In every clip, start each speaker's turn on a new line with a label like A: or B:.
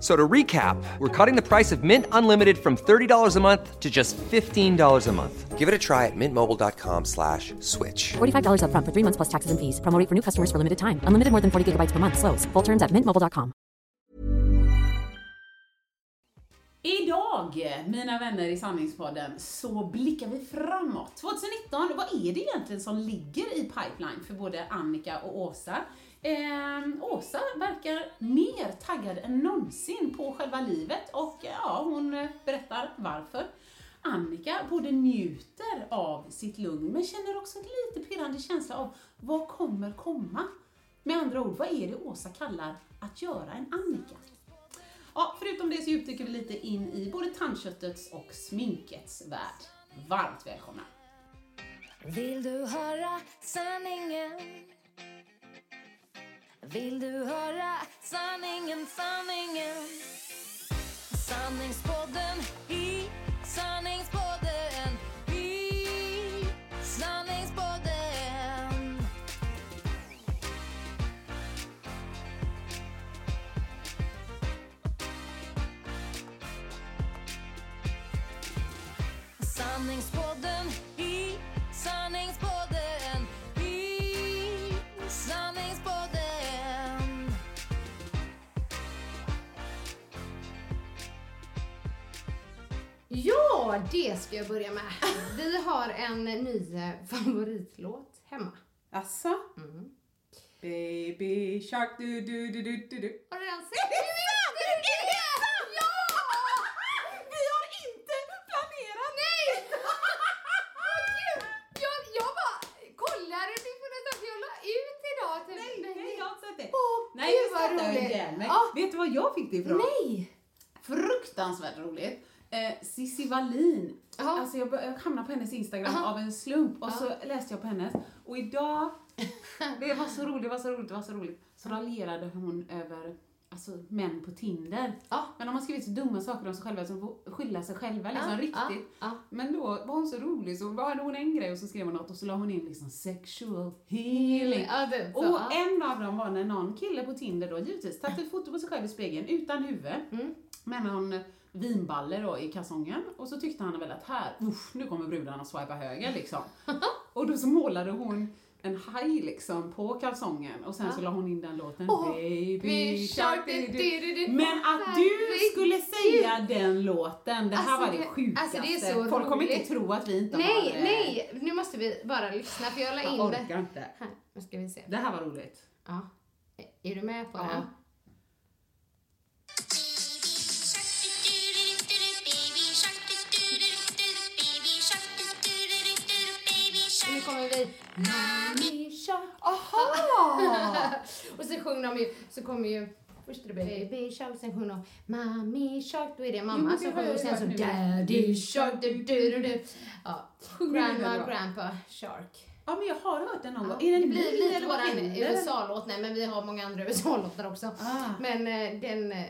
A: So to recap, we're cutting the price of Mint Unlimited from $30 a month to just $15 a month. Give it a try at mintmobile.com slash switch.
B: $45 upfront for three months plus taxes and fees. Promo rate for new customers for limited time. Unlimited more than 40 gigabytes per month. Slows. Full terms at mintmobile.com.
C: Idag, mina vänner i Sanningspodden, så blickar vi framåt. 2019, vad är det egentligen som ligger i pipeline för både Annika och Åsa? Eh, Åsa verkar mer taggad än någonsin på själva livet och eh, ja, hon eh, berättar varför. Annika både njuter av sitt lugn men känner också en lite pirrande känsla av vad kommer komma? Med andra ord, vad är det Åsa kallar att göra en Annika? Ja, förutom det så djupdyker vi lite in i både tandköttets och sminkets värld. Varmt välkomna!
D: Vill du höra sanningen? Vill du höra sanningen, sanningen? Sanningspodden i sanningspodden i sanningspodden Sanningspodden i sanningspodden i sanningspodden
E: Ja, det ska jag börja med. Vi har en ny eh, favoritlåt hemma.
C: Alltså? Baby shark du du du du du du
E: Har du den sett? Du visste det! Ja!
C: Vi har inte planerat!
E: Nej! Åh, gud! Jag, jag bara kollade, det får nästan att jag la ut idag. Typ.
C: Nej, nej, jag har inte sett det!
E: Åh,
C: nej,
E: gud,
C: jag
E: vad
C: skrattar ju
E: roligt.
C: ihjäl mig.
E: Ja.
C: Vet du vad jag fick det ifrån?
E: Nej!
C: Fruktansvärt roligt! Eh, Cissi Wallin.
E: Ja.
C: Alltså jag, bör- jag hamnade på hennes Instagram
E: Ja.
C: av en slump och så läste jag på hennes och idag, det var så roligt, det var så roligt, det var så roligt. Så raljerade hon över alltså, män på Tinder.
E: Ja.
C: Men de har skrivit så dumma saker om sig själva som får skylla sig själva liksom
E: Ja,
C: riktigt.
E: ja, ja.
C: Men då var hon så rolig så hade hon en grej och så skrev hon något och så la hon in liksom sexual healing.
E: Ja, det, så,
C: och
E: ja.
C: en av dem var när någon kille på Tinder då givetvis tagit ett foto på sig själv i spegeln utan huvud.
E: Mm.
C: Med någon eh, vinballe då i kalsongen och så tyckte han väl att här, usch, nu kommer brudarna swipa höger liksom. och då så målade hon en haj liksom på kalsongen och sen så la hon in den låten
E: Åh,
C: Baby
E: vi
C: shark
E: körde
C: du, du,
E: du, du,
C: du.
E: du.
C: Men att du
E: Herregud.
C: skulle säga den låten, det här
E: Alltså,
C: var det
E: det-
C: sjukaste.
E: alltså, det är så
C: Folk kommer inte
E: roligt.
C: tro att vi inte har...
E: Nej,
C: eh,
E: nej! Nu måste vi bara lyssna för jag la
C: Jag
E: in det.
C: orkar inte.
E: Här, nu ska vi se.
C: Det här var roligt.
E: Ja. Är du med på
C: Ja.
E: den? Nu kommer vi. Mami Shark. Aha! och så sjunger de ju, så kommer ju först är det Baby Shark, sen sjunger de Mami Shark, då är det
C: Jo, men det
E: mamma som
C: har jag
E: sjunger och sen
C: hört
E: så
C: nu.
E: Daddy Shark, du du du du. Ja.
C: du
E: Grandma,
C: den då?
E: Grandpa Shark.
C: Ja, men jag har hört den någon
E: Ja.
C: gång. Är den
E: det
C: ny
E: blir lite
C: eller vad
E: våran
C: händer?
E: USA-låt, nej men vi har många andra USA-låtar också.
C: Ah.
E: Men eh, den, eh,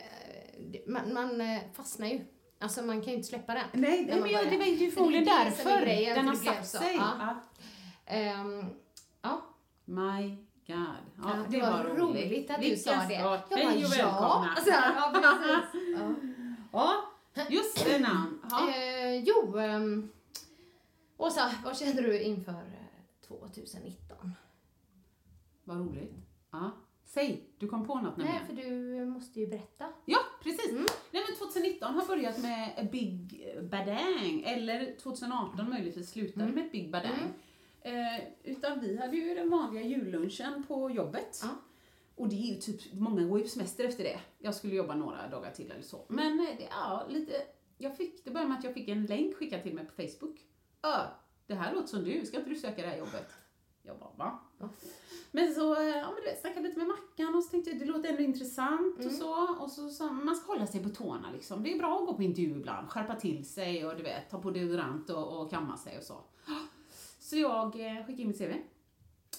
E: det- man, man eh, fastnar ju. Alltså man kan ju inte släppa den.
C: Nej,
E: när
C: nej
E: man
C: men jag,
E: börjar.
C: det var
E: Men
C: ju
E: är
C: förmodligen
E: det som är
C: därför
E: grejen,
C: den
E: för
C: har
E: det blev
C: satt
E: så.
C: sig.
E: Ja.
C: Ja.
E: Ehm, ja.
C: My God. Ja,
E: det, var roligt, att du
C: Vilka
E: sa det.
C: svar.
E: Jag bara,
C: Hej och
E: ja.
C: välkomna.
E: Så här, ja, precis. Ja.
C: Ja, just det namn. Ja.
E: Eh, jo, ehm, Åsa, vad känner du inför eh, 2019?
C: Vad roligt. Ja. Säg, du kom på något
E: Nej,
C: nämligen.
E: för du måste ju berätta.
C: Ja, precis. Nej, men 2019 har börjat med a Big Badang, eller 2018 möjligtvis slutade med ett Big Badang. Eh, utan vi hade ju den vanliga jullunchen på jobbet.
E: Ja.
C: Och det är ju typ, många går ju på semester efter det. Jag skulle jobba några dagar till eller så. Men eh, det, ja, lite, jag fick, det började med att jag fick en länk skickad till mig på Facebook. Ö, det här låter som du, ska inte du söka det här jobbet? Jag bara, va? Men så, eh, ja men du vet, snackade lite med Mackan och så tänkte jag, det låter ändå intressant och så. Och så sa han, man ska hålla sig på tårna liksom. Det är bra att gå på intervju ibland, skärpa till sig och du vet, ta på deodorant och, och kamma sig och så. Så jag eh, skickade in mitt CV.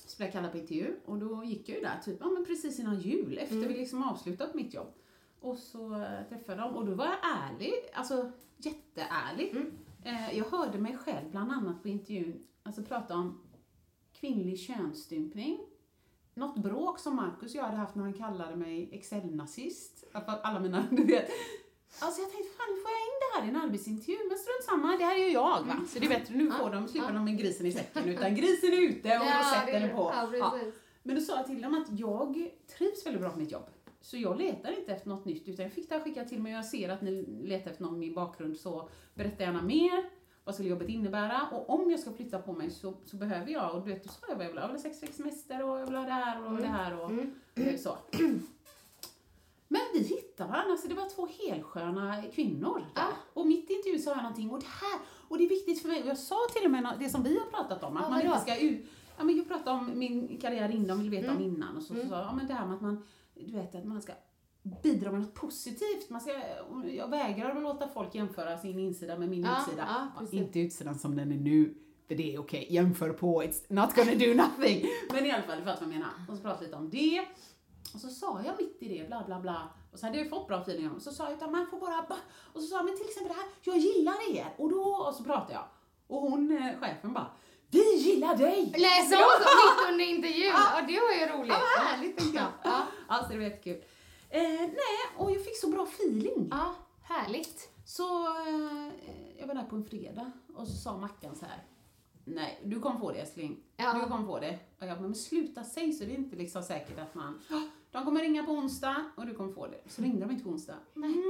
C: Så blev jag kallad på intervju och då gick jag ju där typ, ja men precis innan jul, efter vi liksom avslutat mitt jobb. Och så eh, träffade jag dem och då var jag ärlig, alltså jätteärlig.
E: Mm.
C: Eh, jag hörde mig själv bland annat på intervjun, alltså prata om kvinnlig könsstympning. Något bråk som Marcus och jag hade haft när han kallade mig Excel-nazist. Att Alla mina, du vet. Alltså jag tänkte, fan nu får jag in det här i en arbetsintervju, men strunt samma, det här är ju jag
E: Mm.
C: va. Så det är bättre, nu får de, slipper de med grisen i säcken, utan grisen är ute och
E: Ja, det-
C: sätter den på.
E: ja, precis.
C: Men då sa jag till dem att jag trivs väldigt bra på mitt jobb. Så jag letar inte efter något nytt utan jag fick det här skickat till mig och jag ser att ni letar efter någon med min bakgrund så berätta gärna mer. Vad skulle jobbet innebära? Och om jag ska flytta på mig så, så behöver jag, och du vet, då sa jag vad jag vill ha. Jag vill ha sex veckors semester och jag vill ha det här och det här och eh, så. Men vi hittade varandra, så det var två helsköna kvinnor där. Och mitt i intervjun sa jag någonting, och det här, och det är viktigt för mig. Och jag sa till och med nå- det som vi har pratat om, att
E: Ja,
C: man
E: vadå?
C: inte ska ut... Ja, men jag pratade om min karriär innan, vill veta
E: Mm.
C: om innan. Och så, så sa jag, ja, men det här med att man, du vet, att man ska bidra med något positivt. Man ska, jag vägrar att låta folk jämföra sin insida med min
E: Ja,
C: utsida.
E: ja, precis.
C: inte utsidan som den är nu, för det är okej. Jämför på, it's not gonna do nothing. Men i alla fall, du fattar vad jag menar. Och så pratade vi lite om det. Och så sa jag mitt i det, bla bla bla. Och så hade jag ju fått bra feeling om det. Så sa jag, utan man får bara... Ba. Och så sa jag, men till exempel det här, jag gillar er. Och då, och så pratade jag. Och hon, eh, chefen bara, vi gillar dig!
E: Nej, så
C: Ja.
E: mitt under intervjun. Ja, det var ju roligt.
C: Ja, vad härligt, tänkte jag.
E: Ja,
C: Alltså det var jättekul. Eh, nej, och jag fick så bra feeling.
E: ja härligt.
C: Så eh, jag var där på en fredag och så sa Mackan så här. Nej, du kommer få det älskling.
E: Ja.
C: Du kommer få det. Och jag bara, men sluta säg så det är inte liksom säkert att man... De kommer ringa på onsdag och du kommer få det. Så ringde de inte på onsdag.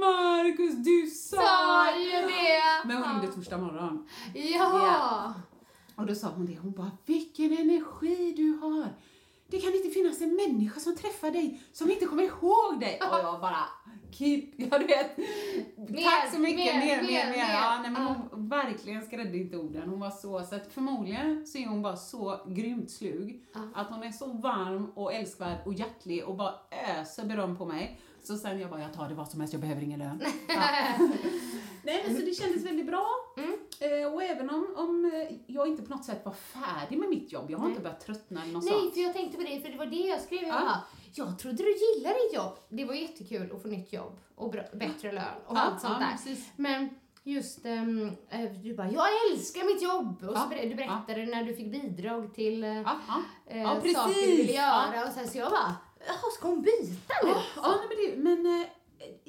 C: Marcus, du
E: Sa
C: sa
E: ju det!
C: Men hon ringde torsdag morgon.
E: Ja!
C: Och då sa hon det, hon bara vilken energi du har. Det kan inte finnas en människa som träffar dig som inte kommer ihåg dig. Och jag bara, keep, ja du vet.
E: Mer,
C: tack så mycket,
E: mer,
C: mer, mer,
E: mer,
C: mer.
E: mer.
C: Ja, nej, men hon verkligen skrädde inte orden. Hon var så, så att förmodligen så är hon bara så grymt slug. Att hon är så varm och älskvärd och hjärtlig och bara öser beröm på mig. Så sen jag bara, jag tar det vad som helst, jag behöver ingen lön. Nej, men så det kändes väldigt bra.
E: Mm.
C: Eh, och även om, om eh, jag inte på något sätt var färdig med mitt jobb, jag har inte börjat tröttna eller något
E: Nej,
C: sånt.
E: för jag tänkte på det, för det var det jag skrev. Jag,
C: Ja.
E: bara, jag trodde du gillade ditt jobb. Det var jättekul att få nytt jobb och bra, bättre lön och
C: Ja,
E: allt sånt
C: ja,
E: där.
C: precis.
E: Men just, ehm, eh, du bara, jag älskar mitt jobb! Och så
C: Ja,
E: ber- du berättade när du fick bidrag till eh,
C: Ja, ja.
E: eh,
C: Ah, ja
E: saker du ville
C: precis.
E: göra. Och sen så jag bara, jaha, ska hon byta nu?
C: Ja, ja nej, men, det, men eh,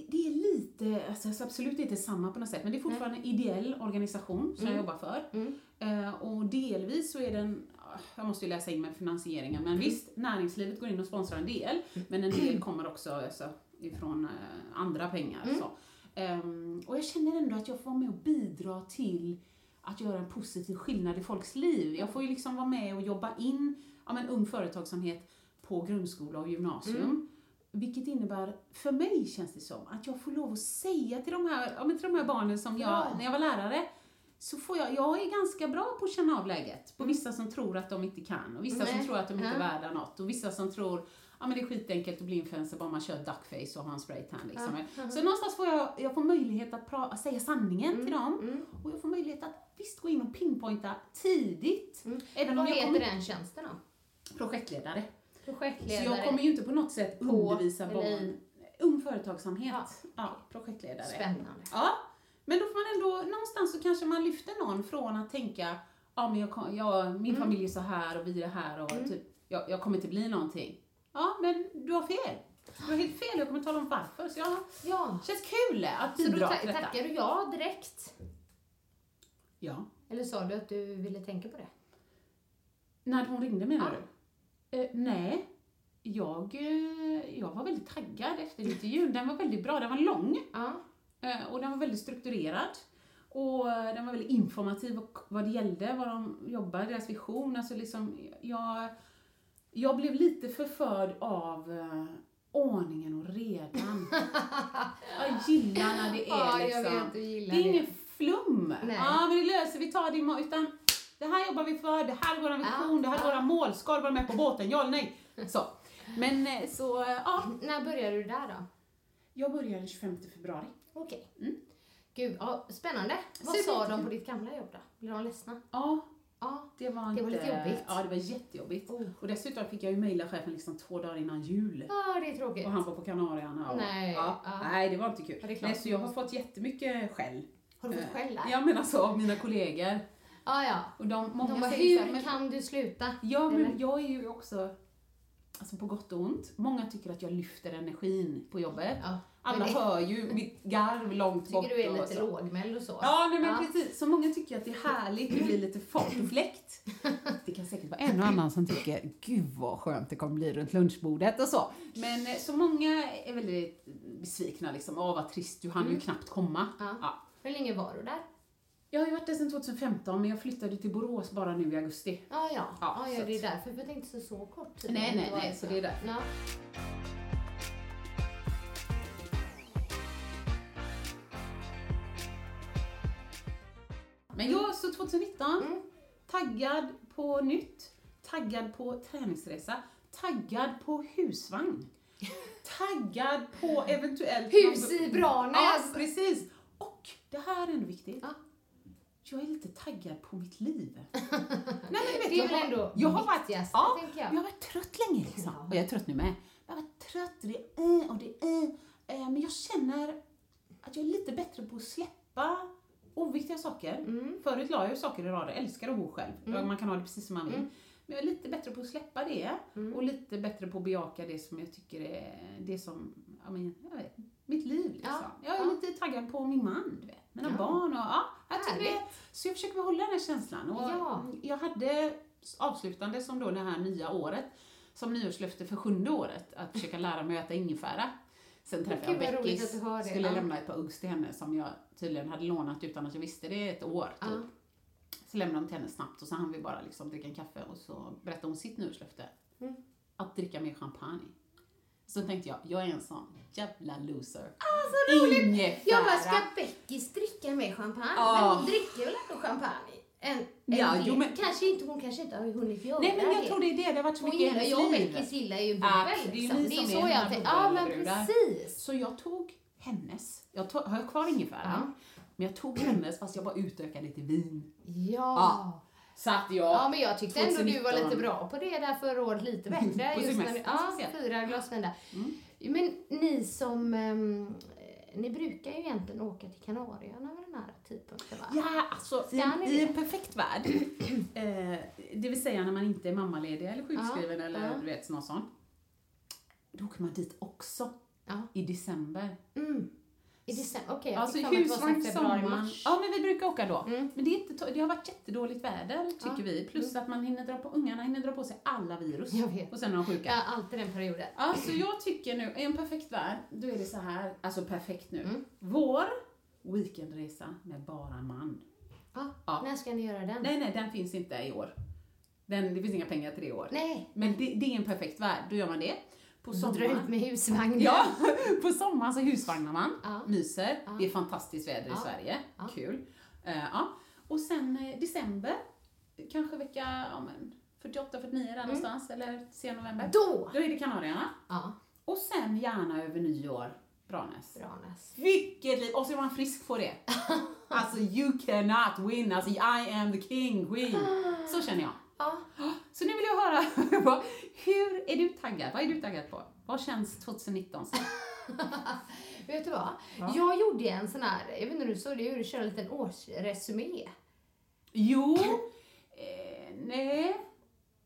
C: det är lite, alltså, alltså absolut inte samma på något sätt, men det är fortfarande en ideell organisation som jag jobbar för. Eh, och delvis så är den, ah, jag måste ju läsa in mig för finansieringen, men visst, näringslivet går in och sponsrar en del, men en del kommer också alltså, ifrån eh, andra pengar. Så. Ehm, och jag känner ändå att jag får vara med och bidra till att göra en positiv skillnad i folks liv. Jag får ju liksom vara med och jobba in ja, men, ung företagsamhet på grundskola och gymnasium. Vilket innebär, för mig känns det som, att jag får lov att säga till de här, ja, men till de här barnen som jag,
E: Ja.
C: när jag var lärare, så får jag, jag är ganska bra på att känna av läget. På vissa som tror att de inte kan, och vissa
E: Mm. Nej.
C: som tror att de inte är
E: Ja.
C: värda något, och vissa som tror Ja men det är skitenkelt att bli influencer bara man kör duckface och har en spraytan liksom. Så någonstans får jag, jag får möjlighet att, pra, att säga sanningen till
E: Mm,
C: dem. Och jag får möjlighet att visst gå in och pinpointa tidigt. Även om
E: Mm. Vad
C: jag
E: heter
C: kommer,
E: den tjänsten då?
C: Projektledare.
E: Projektledare.
C: Så jag kommer ju inte på något sätt
E: På-
C: undervisa
E: eller
C: barn.
E: i-
C: Ung företagsamhet.
E: Ja.
C: Ja. projektledare.
E: Spännande.
C: Ja, men då får man ändå, någonstans så kanske man lyfter någon från att tänka, ja men jag, kom- jag,
E: Mm.
C: min familj är så här och vi är här och typ, jag, jag kommer inte bli någonting. Ja, men du har fel. Du har helt fel, jag kommer tala om varför. Så jag,
E: Ja.
C: känns kul att
E: Så då
C: bidra
E: ta-
C: till detta.
E: tackar du ja direkt?
C: Ja.
E: Eller sa du att du ville tänka på det?
C: När hon ringde menar
E: Ja.
C: du? Eh, nej, jag, eh, jag var väldigt taggad efter intervjun. Den var väldigt bra, den var lång.
E: Ja.
C: Eh, Och den var väldigt strukturerad. Och eh, den var väldigt informativ och vad det gällde, vad de jobbar, deras vision. Alltså liksom, jag, Jag blev lite förförd av eh, ordningen och redan. jag gillar när det är
E: Ja, jag
C: liksom.
E: vet, du gillar
C: det är
E: det.
C: ingen flum.
E: Nej.
C: Ja, men det löser vi, tar det imorgon. Utan det här jobbar vi för, det här är vår vision, det här är våra mål. Ska du vara med på båten? Ja eller nej? Så. Men eh, så, eh, ja.
E: När började du där då?
C: Jag börjar den 25 februari.
E: Okej. Gud, ja, spännande. Vad sa
C: Superkul.
E: de på ditt gamla jobb då? Blev de ledsna?
C: Ja,
E: Ja.
C: det var,
E: Det
C: inte,
E: var lite jobbigt.
C: Ja, det var jättejobbigt.
E: Oh.
C: Och dessutom fick jag ju mejla chefen liksom två dagar innan jul.
E: Ja, det är tråkigt.
C: Och han var på Kanarieöarna. och-
E: Nej,
C: Ja.
E: ja.
C: Nej, det var inte kul.
E: Ja, det är klart.
C: Nej, så jag har fått jättemycket skäll.
E: Har du fått skäll där?
C: Ja, men alltså av mina kollegor.
E: Ja, ja.
C: Och de, många
E: De bara,
C: säger så här,
E: hur
C: men-
E: kan du sluta?
C: Ja, men
E: Eller?
C: jag är ju också, alltså på gott och ont, många tycker att jag lyfter energin på jobbet.
E: Ja.
C: Alla
E: Men det-
C: hör ju mitt garv långt bort.
E: Tycker du är
C: och
E: lite
C: så.
E: lågmäld och så?
C: Ja, nej, men precis. Så många tycker att det är härligt, det blir lite fart och fläkt. Det kan säkert vara en och annan som tycker, gud vad skönt det kommer bli runt lunchbordet och så. Men eh, så många är väldigt besvikna liksom, åh vad trist, du hann ju knappt komma.
E: Ja.
C: Ja.
E: Hur länge var du där?
C: Jag har ju varit där sedan 2015, men jag flyttade till Borås bara nu i augusti.
E: Ja, ja.
C: Ja,
E: ja,
C: så
E: ja
C: att-
E: det är därför. för Jag tänkte så, så kort tid.
C: Nej, nej,
E: var
C: nej, så det är därför.
E: Ja.
C: Men jag, så 2019,
E: Mm.
C: taggad på nytt, taggad på träningsresa, taggad på husvagn, taggad på eventuellt...
E: Hus i Branäs!
C: Ja, precis! Och det här är ändå viktigt.
E: Ja.
C: Jag är lite taggad på mitt liv. Nej, men vet,
E: Det är
C: jag
E: väl
C: har-
E: ändå
C: jag har varit,
E: viktigaste,
C: ja,
E: tänker jag.
C: men har varit trött länge liksom.
E: Ja.
C: Och jag är trött nu med. Jag har varit trött och det är eh, och det är eh. Eh, Men jag känner att jag är lite bättre på att släppa oviktiga saker.
E: Mm.
C: Förut la jag ju saker i rader, älskar att bo själv. Man kan ha det precis som man vill.
E: Mm.
C: Men jag är lite bättre på att släppa det och lite bättre på att bejaka det som jag tycker är det som, ja, men, jag vet, mitt liv liksom.
E: Ja,
C: Jag är
E: ja.
C: lite taggad på min man, du vet. mina
E: Ja.
C: barn och ja, jag tycker det,
E: Härligt.
C: Så jag försöker behålla den här känslan. Och
E: Ja.
C: Jag hade avslutande som då det här nya året, som nyårslöfte för sjunde året, att försöka lära mig att äta ingefära. Sen träffade jag
E: Gud, vad roligt
C: Beckis,
E: att du har det.
C: skulle
E: Ja.
C: lämna ett par uggs till henne som jag tydligen hade lånat utan att jag visste det ett år typ.
E: Ja.
C: Så lämnade jag dem till henne snabbt och så hann vi bara liksom dricka en kaffe och så berättade hon sitt nyårslöfte.
E: Mm.
C: Att dricka mer champagne. Så tänkte jag, jag är en sån jävla loser. Ah, så roligt! Ingefära.
E: Jag bara, ska Beckis dricka mer champagne?
C: Ja.
E: Men hon dricker väl ändå champagne? En, en
C: Ja,
E: del.
C: jo, men-
E: kanske inte, hon kanske inte har hunnit göra
C: Nej men jag
E: det.
C: tror det är det, det har varit så
E: Hon
C: mycket i
E: gillar, jag och
C: hennes liv.
E: Beckis gillar
C: Ja,
E: ju bubbel.
C: det är ju
E: liksom.
C: ni
E: det är
C: som
E: så
C: är mina
E: jag tänker. Ja, men
C: bubbelbrudar.
E: precis.
C: Så jag tog hennes, jag tog, har jag kvar ingefäran? Men jag tog hennes fast jag bara utökade till vin.
E: Ja.
C: Ja.
E: ja.
C: Så att jag...
E: men jag tyckte ändå du var
C: 2019.
E: lite bra på det där förra året, lite bättre.
C: På Mm.
E: just när du,
C: semestern,
E: ja,
C: speciellt.
E: fyra glas vin där. Men ni som, ehm, ni brukar ju egentligen åka till Kanarieöarna vid den här tidpunkten va?
C: Ja, alltså i,
E: Ska ni
C: i
E: det?
C: en perfekt värld, eh, det vill säga när man inte är mammaledig eller sjukskriven
E: Ja,
C: eller
E: ja.
C: du vet någon sån, då åker man dit också
E: Ja.
C: i december.
E: I december, okej. jag
C: Alltså
E: fick för mig att det var så här
C: husvagn
E: februari,
C: sommar.
E: mars. Mm.
C: Ja, men vi brukar åka då. Men det, är inte, to- det har varit jättedåligt väder tycker
E: Ja. Mm.
C: vi. Plus att man hinner dra på, ungarna hinner dra på sig alla virus.
E: Jag vet.
C: Och sen är de sjuka.
E: Ja, alltid den perioden.
C: Ja, så Alltså, jag tycker nu, i en perfekt värld, då är det så här, alltså perfekt nu.
E: Mm.
C: Vår weekendresa med bara man.
E: Ja.
C: Ja.
E: När ska ni göra den?
C: Nej, nej, den finns inte i år. Den, det finns inga pengar till det i år.
E: Nej.
C: Men det, det är en perfekt värld, då gör man det. På
E: Dra ut
C: sommaren,
E: med husvagnen.
C: ja, på sommaren så husvagnar man,
E: Ja.
C: myser. Det är fantastiskt väder i Sverige, kul. Eh, ja. Och sen eh, december, kanske vecka ja, men 48, 49 där någonstans, eller sen november.
E: Mm. Då!
C: Då är det Kanarieöarna.
E: Ja,
C: Och sen gärna över nyår, Branäs.
E: Branäs.
C: Vilket liv! Och så är man frisk på det. Alltså you cannot win, alltså I am the king, queen. Så känner jag.
E: Ja.
C: Så nu vill jag höra, vad- hur är du taggad? Vad är du taggad på? Vad känns 2019 som?
E: Vet du vad? Jag gjorde en sån här, jag vet inte om du såg det, jag gjorde- körde en liten årsresumé.
C: Jo, eh, nej,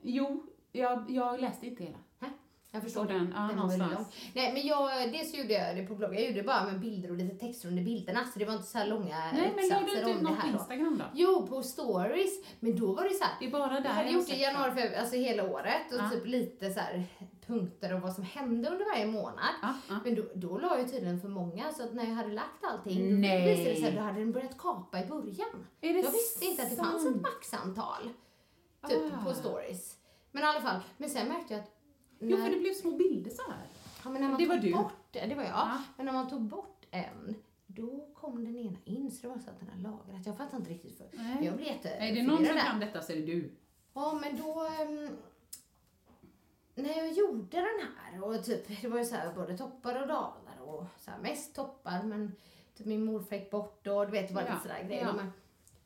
C: jo, jag, jag läste inte hela.
E: Hä? Jag förstår
C: Och den, ja,
E: var väldigt
C: någonstans.
E: lång. Nej, men jag, dels gjorde jag det på bloggen. Jag gjorde det bara med bilder och lite texter under bilderna, så det var inte så här långa
C: Nej, men la du
E: uppsatser
C: inte ut
E: om det
C: något på
E: här. Då.
C: Instagram då?
E: Jo, på stories. Men då var det så här.
C: Det är bara där
E: jag hade
C: jag
E: gjort
C: har
E: det i
C: sett
E: januari, februari, alltså hela året och
C: Ja.
E: typ lite så här punkter och vad som hände under varje månad.
C: Ja, ja.
E: Men då, då la jag tydligen för många så att när jag hade lagt allting
C: Nej.
E: då visade det sig att då hade den börjat kapa i början.
C: Är det
E: jag visste inte att det fanns
C: sant?
E: ett maxantal typ
C: Ah.
E: på stories. Men i alla fall, men sen märkte jag att
C: Jo,
E: när-
C: för det blev små bilder så här.
E: Ja, men när man
C: Det
E: tog
C: var du.
E: bort det, det var jag.
C: Ja.
E: Men när man tog bort en, då kom den ena in så det var så att den har lagrat. Jag fattar inte riktigt för.
C: Nej.
E: Jag blev jätte-
C: Är det någon som
E: förvirrad
C: kan
E: där.
C: detta så är det du.
E: Ja, men då... ehm, när jag gjorde den här och typ, det var ju så här både toppar och dalar och så här, mest toppar men typ min morfar gick bort och du vet, det var
C: Ja,
E: lite sådär grejer.
C: ja.
E: Men,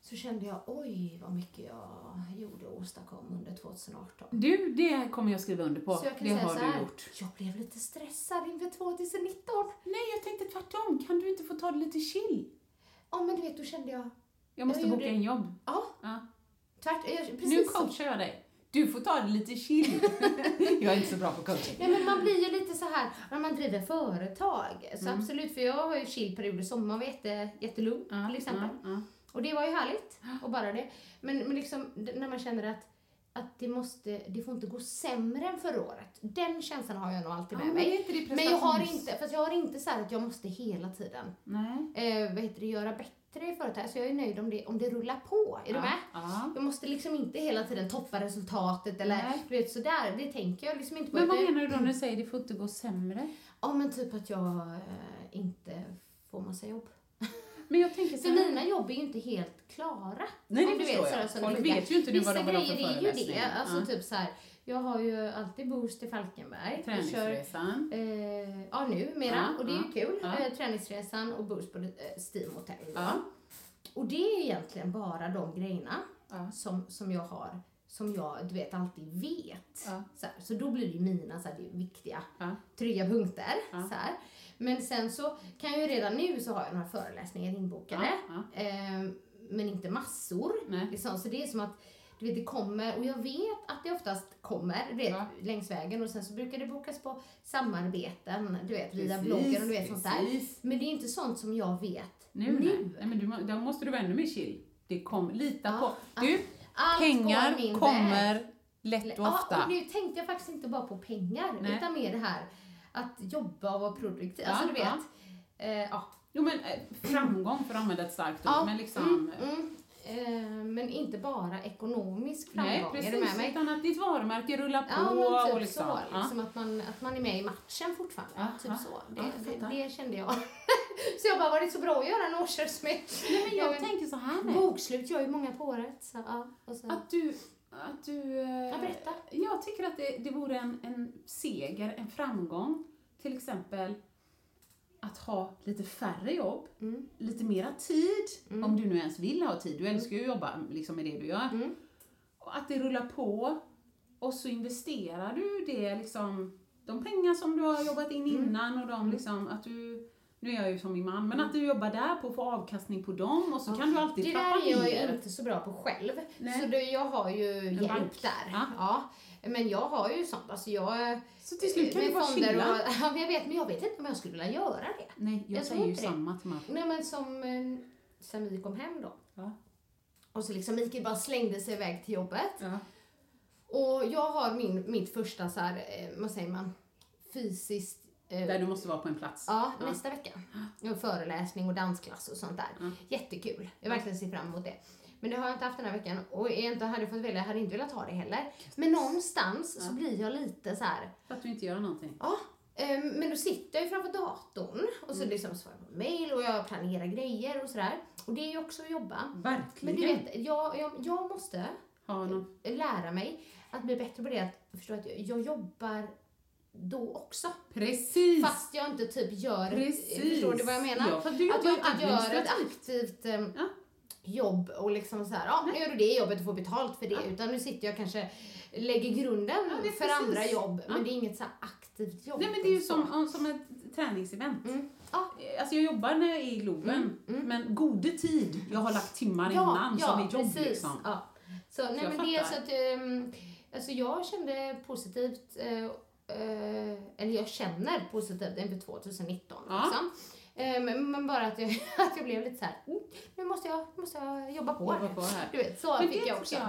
E: så kände jag, oj vad mycket jag gjorde och åstadkom under 2018.
C: Du, det kommer jag skriva under på.
E: Så jag kan
C: det
E: säga
C: har
E: så
C: du
E: här,
C: gjort.
E: jag blev lite stressad inför 2019.
C: Nej, jag tänkte tvärtom. Kan du inte få ta det lite chill?
E: Ja men du vet, då kände jag,
C: Jag måste
E: Jag
C: boka
E: gjorde-
C: in jobb.
E: ja
C: Ja.
E: tvärt, jag, precis
C: Nu
E: så.
C: coachar jag dig. Du får ta det lite chill. jag är inte så bra på coaching.
E: Nej men man blir ju lite så här när man driver företag. Så
C: Mm.
E: absolut, för jag har ju chillperioder. Sommaren var jätte, jättelugn till exempel.
C: Ja, ja.
E: Och det var ju härligt. Och bara det. Men, men liksom d- när man känner att, att det, måste, det får inte gå sämre än förra året. Den känslan har jag nog alltid
C: Ja,
E: med
C: men
E: mig.
C: är inte det
E: men jag har
C: prestations-
E: inte, fast jag har inte så här att jag måste hela tiden
C: Nej.
E: eh, vad heter det, göra bättre i företaget. Så jag är nöjd om det, om det rullar på. Är du
C: Ja,
E: med?
C: ja.
E: Jag måste liksom inte hela tiden toppa resultatet eller
C: Nej.
E: du vet sådär. Det tänker jag liksom inte på.
C: Men vad
E: Det-
C: menar du då när du säger det får inte gå sämre?
E: Ja men typ att jag eh, inte får massa jobb.
C: Men jag tänker så
E: För
C: här.
E: mina jobb är ju inte helt klara.
C: Mm. Nej, det
E: Om du
C: förstår jag.
E: vet, sådär som
C: Folk
E: det brukar.
C: vet ju inte nu vad
E: Vissa
C: de vill ha för
E: grejer är ju det.
C: föreläsning.
E: Alltså
C: Ja.
E: typ så här, jag har ju alltid Boost i Falkenberg. Jag kör,
C: Träningsresan.
E: eh, ja nu mera,
C: Ja,
E: och det är ju
C: ja,
E: kul.
C: ja.
E: Eh, träningsresan och Boost på eh, Steam Hotel.
C: Ja.
E: Och det är egentligen bara de grejerna
C: Ja.
E: som, som jag har, som jag du vet alltid vet.
C: Ja.
E: Så, här, så då blir det ju mina så här, det är viktiga
C: Ja.
E: trygga punkter. Så här. Men sen så kan jag ju redan nu så har jag några föreläsningar inbokade.
C: Ja,
E: Ehm, men inte massor.
C: Nej.
E: Liksom. Så det är som att du vet, det kommer, och jag vet att det oftast kommer du vet,
C: Ja.
E: längs vägen och sen så brukar det bokas på samarbeten, du vet via
C: Precis,
E: bloggen och du vet sånt där.
C: precis.
E: Men det är inte sånt som jag vet
C: Nu, Nej. Nej, men du, må- då måste du vara ännu mer chill. Det kom, lita på. Du,
E: Allt går
C: pengar
E: min
C: kommer
E: väg.
C: lätt och
E: Ja,
C: ofta.
E: och nu tänkte jag faktiskt inte bara på pengar
C: Nej.
E: utan mer det här att jobba och vara produktiv. alltså
C: Ja,
E: du vet. Eh, ja.
C: Jo men eh, framgång för att använda ett starkt ord,
E: Ja,
C: men liksom...
E: Mm. Eh, men inte bara ekonomisk framgång.
C: Nej
E: är du med
C: precis,
E: mig?
C: utan att ditt varumärke rullar på
E: Ja, men typ
C: och liksom...
E: så.
C: ja.
E: Liksom att, man, att man är med i matchen fortfarande.
C: Ja,
E: typ
C: ja.
E: så.
C: Ja,
E: Det,
C: jag
E: det,
C: fattar.
E: det kände jag. så jag bara, var det så bra att göra en årsresumet?
C: Nej men jag tänker så här nu.
E: Bokslut gör ju många på året. Så, ja, och så.
C: Att du... Att du eh,
E: Ja, berätta.
C: Jag tycker att det, det vore en, en seger, en framgång. Till exempel att ha lite färre jobb,
E: Mm.
C: lite mera tid, om du nu ens vill ha tid. Du älskar ju att jobba liksom, med det du gör.
E: Mm.
C: Och att det rullar på och så investerar du det, liksom, de pengar som du har jobbat in
E: Mm.
C: innan och de liksom, att du nu är jag ju som min man, men att du jobbar där på att få avkastning på dem och så kan du alltid
E: Mm. Det
C: trappa
E: där är jag ju
C: ner.
E: inte så bra på själv.
C: Nej.
E: Så det, jag har ju hjälp
C: bank.
E: där.
C: Ja.
E: Ja. Men jag har ju sånt. Alltså jag,
C: Så till slut kan
E: med
C: du bara
E: fonder
C: chilla.
E: och- Ja, men jag vet, men jag vet inte om jag skulle vilja göra det.
C: Nej, jag,
E: Jag tror
C: säger ju
E: inte det.
C: samma till Martin.
E: Nej men som eh, sen vi kom hem då.
C: Ja.
E: Och så liksom Mikael bara slängde sig iväg till jobbet.
C: Ja.
E: Och jag har min, mitt första så här, eh, vad säger man, fysiskt eh,
C: Där du måste vara på en plats.
E: Ja, nästa vecka. En föreläsning och dansklass och sånt där. Jättekul. Jag verkligen ser fram emot det. Men det har jag inte haft den här veckan och jag inte hade fått välja, jag hade inte velat ha det heller. Men någonstans så blir jag lite så här,
C: För att du inte gör någonting.
E: ja, ehm, men då sitter jag ju framför datorn och så liksom svarar jag på mail och jag planerar grejer och sådär. Och det är ju också att jobba. Men
C: Verkligen.
E: du vet, jag, jag, jag måste
C: ha någon.
E: lära mig att bli bättre på det, att förstå att jag, jag jobbar då också.
C: Precis!
E: Fast jag inte typ gör...
C: Precis.
E: Förstår du vad jag menar?
C: Ja, för du
E: att
C: gör
E: jag inte gör ett
C: administrativt.
E: aktivt em,
C: Ja.
E: jobb och liksom så här, ja nu gör du det jobbet och får betalt för det. Utan nu sitter jag kanske, lägger grunden för
C: men precis.
E: andra jobb.
C: Ja.
E: Men det är inget så här aktivt jobb.
C: Nej men det är ju
E: Så.
C: som, som ett träningsevent.
E: Mm. Ja. Mm,
C: Alltså jag jobbar när jag är i Globen, men gode tid. Jag har lagt timmar innan som är jobb liksom.
E: Ja. Så, nej,
C: jag
E: men det är
C: fattar.
E: så att, ehm, alltså jag kände positivt, eh, eh, eller jag känner positivt inför 2019.
C: Ja.
E: Liksom. Eh, men, men bara att jag, att jag blev lite så här, mm, nu måste jag, måste jag jobba på,
C: Jobba på här.
E: Du vet, så
C: Men det
E: fick jag också. Mm.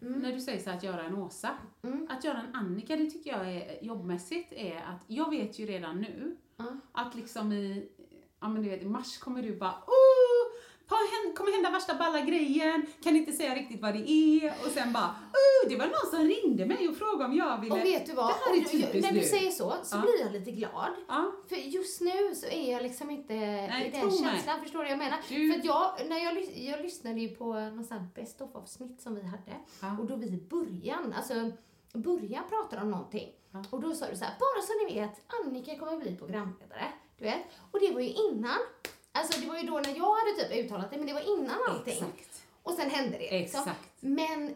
C: tycker jag, när du säger så här, att göra en Åsa. Att göra en Annika, det tycker jag är, jobbmässigt är att jag vet ju redan nu att liksom i, ja men du vet i mars kommer du bara oh, Har hänt, kommer hända värsta balla grejen, kan inte säga riktigt vad det är och sen bara, oh, det var någon som ringde mig och frågade om jag ville.
E: Och vet du vad?
C: Det här är
E: Och du-
C: typiskt
E: När
C: nu.
E: du säger så, så
C: Ja.
E: blir jag lite glad.
C: Ja.
E: För just nu så är jag liksom inte i den
C: tro mig.
E: känslan, förstår du vad jag menar?
C: Du-
E: För att jag, när jag, lys- jag lyssnade ju på någon sån här best of avsnitt som vi hade
C: Ja.
E: och då vi i början, alltså början pratade om någonting och då sa du så här, bara så ni vet, Annika kommer bli programledare, du vet. Och det var ju innan, alltså det var ju då när jag hade typ uttalat det, men det var innan allting.
C: Exakt.
E: Och sen hände det liksom.
C: Exakt.
E: Men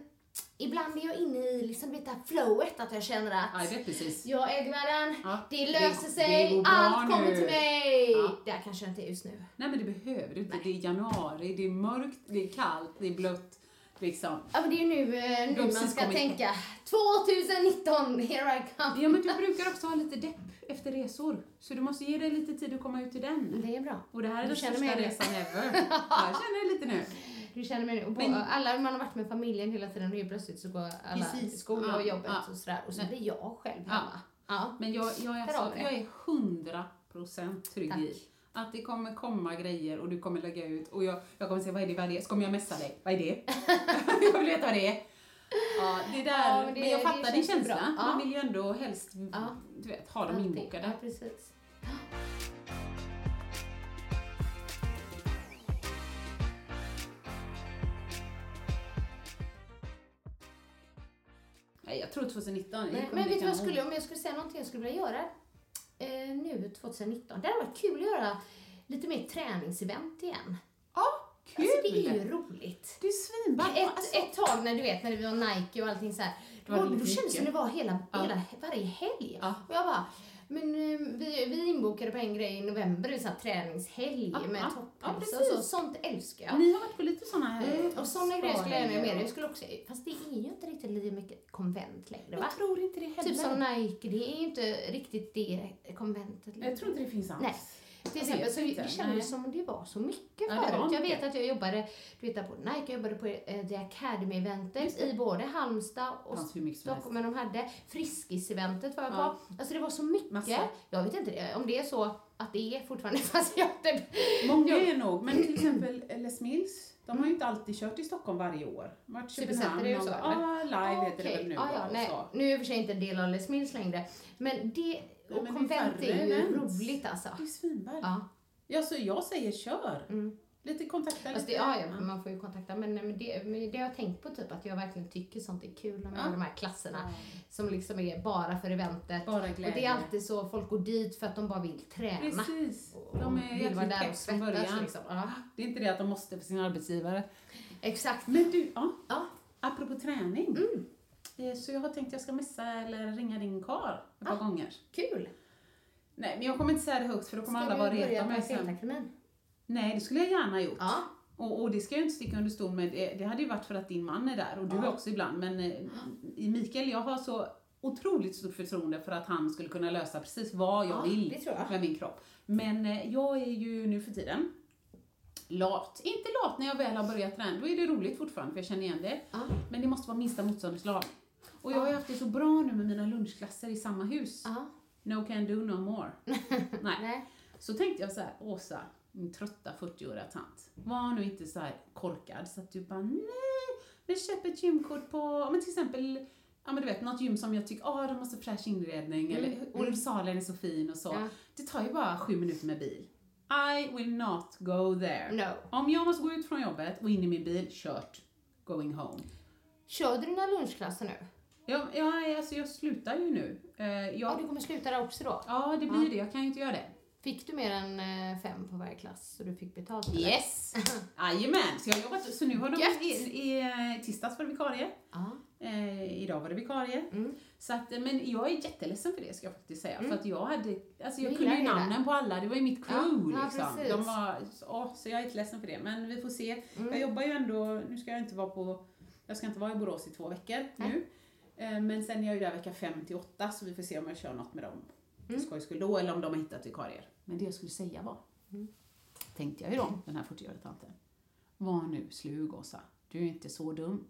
E: ibland är jag inne i liksom det här flowet, att jag känner att
C: Ja, jag vet precis.
E: jag är gumman,
C: Ja,
E: det
C: det-
E: löser
C: det
E: sig,
C: går bra
E: allt kommer
C: nu.
E: till mig.
C: Ja.
E: Där kanske jag inte är just nu.
C: Nej men det behöver du inte. Det är januari, det är mörkt, det är kallt, det är blött. Liksom.
E: Ja, men det är ju nu, eh, nu man
C: Blomsis
E: ska
C: kommer in.
E: tänka. 2019, here I come.
C: Ja men du brukar också ha lite depp efter resor. Så du måste ge dig lite tid att komma ut ur den.
E: Det är bra.
C: Och det här är
E: Mm. Du
C: den
E: känner
C: största
E: mig nu.
C: resan ever. Ja, jag känner det lite nu.
E: Du känner mig nu.
C: Men-
E: Men, alla, man har varit med familjen hela tiden och helt plötsligt så går alla
C: Precis.
E: till skola och
C: Ja,
E: jobbet
C: ja.
E: och sådär. Och så
C: Nej.
E: blir jag själv hemma. Ja.
C: Men jag, jag, är,
E: Där har
C: alltså,
E: vi det.
C: jag är 100% trygg i
E: Tack.
C: att det kommer komma grejer och du kommer lägga ut och jag, jag kommer säga vad är det, vad är det? Så kommer jag messa dig, vad är det? jag vill veta vad det är. Ja, det där,
E: Ja,
C: men,
E: men det-
C: jag
E: det
C: fattar din
E: känns
C: känsla.
E: bra. Ja.
C: Man vill ju ändå helst
E: Ja.
C: du vet, ha dem
E: Allting.
C: inbokade.
E: Ja, precis.
C: Nej, jag tror 2019. jag
E: Men,
C: kommer
E: men
C: bli
E: vet du vad jag
C: kanon.
E: skulle, om jag skulle säga någonting jag skulle vilja göra eh, nu 2019. Det hade varit kul att göra lite mer träningsevent igen.
C: Ja, kul!
E: Alltså det är ju roligt.
C: Det är svinballt.
E: Ett,
C: Alltså,
E: ett tag när du vet när vi var Nike och allting så här,
C: Det var
E: då, då
C: lite
E: kändes det som det
C: mycket.
E: var hela,
C: Ja.
E: hela, varje helg.
C: Ja.
E: Och jag bara, men eh, vi, vi inbokade på en grej i november, en sån här träningshelg
C: Ja,
E: med
C: ja, ja,
E: toppers och
C: precis.
E: så. Sånt älskar jag.
C: Ni har varit på lite sådana här...
E: Mm, och såna grejer skulle jag gärna
C: spargrejer.
E: göra mer. Jag skulle också, fast det är ju inte riktigt lika mycket konvent längre va?
C: Jag tror inte det heller.
E: Typ som Nike, det är ju inte riktigt det konventet längre.
C: Jag tror inte det finns alls.
E: Nej. Till
C: Jag
E: exempel
C: vet
E: så
C: inte.
E: det
C: Nej.
E: kändes som om det var så mycket
C: Ja, det var
E: förut. Jag
C: mycket.
E: vet att jag jobbade, du vet där på Nike, jag jobbade på eh, The
C: Just
E: Academy-eventet
C: det.
E: i både Halmstad och
C: fanns hur mycket som
E: Stockholm, men de hade Friskis-eventet var jag på.
C: Ja.
E: Alltså det var så mycket.
C: Massa.
E: Jag vet inte det- om det är så att det är fortfarande, fast jag inte...
C: Många är nog, men till exempel Les Mills, de har ju inte alltid kört i Stockholm varje år. De har varit i Köpenhamn,
E: Supercenter är ju
C: någon
E: så,
C: gång.
E: eller?
C: Ja, live heter det väl nu.
E: Ah, ja,
C: och
E: nej,
C: så.
E: nu är jag i och för sig inte en del av Les Mills längre, men det
C: Nej,
E: och
C: men det är
E: konvent
C: färre
E: är ju
C: event.
E: roligt alltså.
C: Det är svinballt. Ja.
E: Ja. Mm.
C: så jag säger kör. Lite kontakta
E: Fast Alltså det,
C: lite.
E: ja, ja, man får ju kontakta. Men, men, det, men det har jag tänkt på typ att jag verkligen tycker sånt är kul. Med de här klasserna som liksom är bara för eventet.
C: Bara
E: Och det
C: glädje.
E: är alltid så folk går dit för att de bara vill träna.
C: Precis.
E: Och
C: De är
E: vill vara
C: jäkligt
E: där
C: pepp
E: och
C: från
E: svettas
C: början.
E: liksom. Ja,
C: Det är inte det att de måste för sin arbetsgivare.
E: exakt.
C: Men du, ja.
E: Ja.
C: Apropå träning.
E: Mm.
C: Eh, Så jag har tänkt jag ska messa eller ringa din kar ett
E: Ah.
C: par gånger.
E: Kul!
C: Nej, men jag kommer inte säga det högt för då kommer
E: Ska
C: alla
E: vi
C: bara
E: börja
C: reta
E: på
C: mig sen.
E: Fältakademin?
C: Nej, det skulle jag gärna gjort.
E: Ja.
C: Och, och det ska jag inte sticka under stol med, Eh, det, det hade ju varit för att din man är där och du också ibland. Men eh, i Mikael, jag har så otroligt stort förtroende för att han skulle kunna lösa precis vad jag
E: Ja,
C: vill
E: det tror jag.
C: med min kropp. Men eh, jag är ju nu för tiden lat. Inte lat när jag väl har börjat träna, då är det roligt fortfarande för jag känner igen det.
E: Ja.
C: Men det måste vara minsta motståndets lag. Och jag har ju haft det så bra nu med mina lunchklasser i samma hus.
E: Ja.
C: No can do no more. Nej.
E: Nej.
C: Så tänkte jag så här, Åsa, min trötta 40-åriga tant, var nu inte så här korkad så att du bara nej, vi köper ett gymkort på, men till exempel, ja men du vet något gym som jag tycker, ah de har så fräsch inredning eller, och salen är så fin och så.
E: Mm, Ja.
C: Det tar ju bara sju minuter med bil. I will not go there.
E: No.
C: Om jag måste gå ut från jobbet och in i min bil, kört. Going home.
E: Kör du dina lunchklasser nu?
C: Jag, jag, alltså jag slutar ju nu. Eh,
E: Ja,
C: Jag,
E: du kommer sluta där också då?
C: ja, det blir det. Jag kan ju inte göra det.
E: Fick du mer än eh, fem på varje klass så du fick betalt? eller?
C: Yes! Jajamän, så jag har jobbat, så nu har
E: Gött.
C: de, i, i, eh, tisdags var det vikarie,
E: Ja.
C: eh, idag var det vikarie.
E: Mm.
C: Så att, eh, men jag är jätteledsen för det ska jag faktiskt säga, för att jag hade, alltså jag
E: Du
C: kunde ju
E: Mm. gillar det
C: namnen på alla, det var ju mitt crew
E: Ja, ja,
C: liksom.
E: precis. Mm.
C: de var, åh, så jag är jätteledsen för det, men vi får se. Jag jobbar ju ändå, nu ska jag inte vara på, jag ska inte vara i Borås i två veckor nu. Eh, Men sen är jag ju där vecka 5 till 8 så vi får se om jag kör något med dem mm. skoj skull då eller om de har hittat vikarier. Men det jag skulle säga var, tänkte jag ju då, den här 40-åriga tanten. Var nu slug Åsa, du är inte så dum.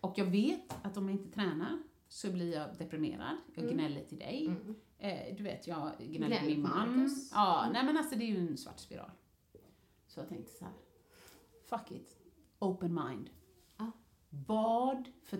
C: Och jag vet att om jag inte tränar så blir jag deprimerad, jag gnäller till dig. Eh, du vet, jag gnäller
E: Mm. Gnäller
C: till min
E: på
C: man.
E: Marcus. Mm.
C: Ja, nej men alltså det är ju en svart spiral. Så jag tänkte så här, fuck it. Open mind.
E: Ja.
C: Vad för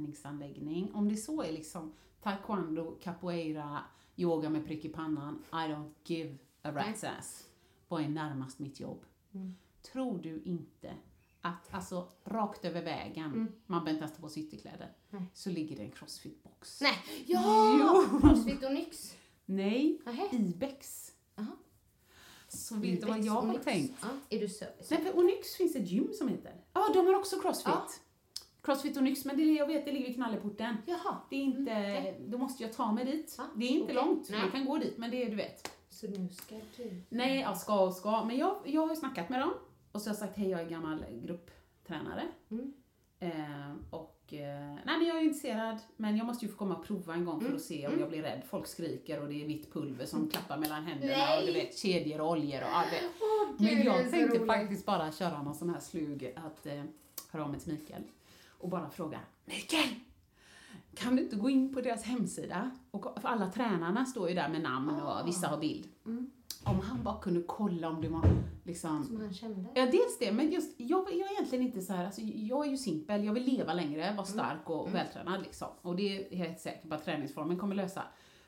C: träningsanläggning, om det så är liksom taekwondo, capoeira, yoga med prick i pannan, I don't give a rat's ass. Vad är närmast mitt jobb?
E: Mm.
C: Tror du inte att, alltså rakt över vägen, man behöver inte ens ta på sig ytterkläder,
E: Mm. Nej.
C: så ligger det en crossfit-box.
E: Nej, ja!
C: Jo.
E: Crossfit och Nyx.
C: Nej,
E: Nähä.
C: Ibex.
E: Jaha.
C: Så vet du vad jag har
E: Nyx.
C: tänkt?
E: Ja, är du service?
C: Nej, för Onyx finns ett gym som heter. Ja, de har också Crossfit.
E: Ja.
C: Crossfit Onyx, men det är, jag vet, det ligger vid Knalleporten.
E: Jaha.
C: Det är inte, då måste jag ta mig dit.
E: Mm, Ja,
C: Det är inte
E: okej.
C: långt,
E: Nej. Mm.
C: man kan gå dit, men det är du vet.
E: Så nu ska du...
C: Nej, jag ska och ska, men jag, jag har ju snackat med dem och så har jag sagt hej, jag är gammal grupptränare.
E: Mm.
C: Eh, och, eh, nej men jag är intresserad, men jag måste ju få komma och prova en gång för
E: Mm.
C: att se om jag blir rädd. Folk skriker och det är vitt pulver som klappar mellan händerna och du
E: Nej.
C: vet, kedjor och oljor och allt det.
E: Åh, gud,
C: Men
E: det är
C: jag
E: så
C: tänkte
E: roligt.
C: faktiskt bara köra någon sån här slug att eh, höra av mig till Mikael och bara fråga Mikael! Kan du inte gå in på deras hemsida? Och, för alla tränarna står ju där med namn och vissa har bild.
E: Ah.
C: Om han bara kunde kolla om det var liksom...
E: Mm. Som han kände.
C: Ja, dels det, men just, jag, jag är egentligen inte så här, alltså, jag är ju simpel, jag vill leva längre,
E: Mm.
C: vara stark och vältränad liksom. Och det är jag helt säker på att träningsformen kommer lösa.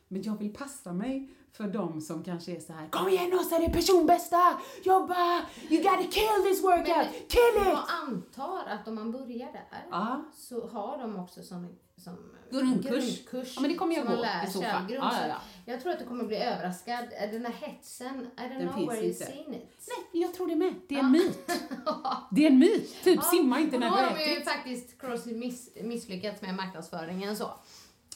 C: Men jag vill passa mig för de som kanske är så här Kom igen Åsa, det är personbästa! Jobba! You gotta kill this workout! kill it!
E: Jag antar att om man börjar där
C: Ja.
E: så har de också som, som
C: Grundkurs.
E: grundkurs
C: Ja, men det kommer jag
E: som man
C: gå
E: lär
C: i så
E: sig av
C: fall.
E: grund.
C: Ja, ja, ja.
E: Så Jag tror att du kommer bli överraskad. Den där hetsen, I don't
C: Den
E: know
C: finns
E: where you've
C: inte.
E: seen it.
C: Nej, jag tror det med. Det är en myt. Det är en myt. Typ simma inte när
E: Då
C: du
E: har de
C: äter.
E: ju faktiskt Crossfit miss, misslyckats med marknadsföringen så.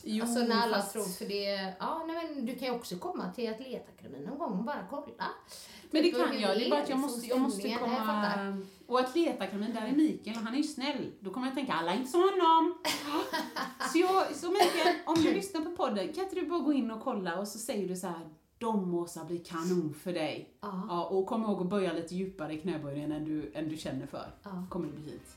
C: Jo,
E: alltså när alla
C: fast-
E: tror, för det, ja nej men du kan ju också komma till Atletakademin någon gång och bara kolla.
C: Men det
E: Typ,
C: kan
E: hur
C: jag. Det är bara att jag
E: liksom
C: måste, jag måste
E: stämningen. Nej, jag fattar.
C: komma... Och atletakademin, där är Mikael och han är ju snäll. Då kommer jag tänka, alla är inte som honom. Så, jag, så Mikael, om du lyssnar på podden, kan inte du bara gå in och kolla och så säger du så här, de Åsa blir kanon för dig.
E: Ja.
C: Ja, och kom ihåg att böja lite djupare i knäböjen än du, än du känner för.
E: Ja.
C: kommer du bli hit.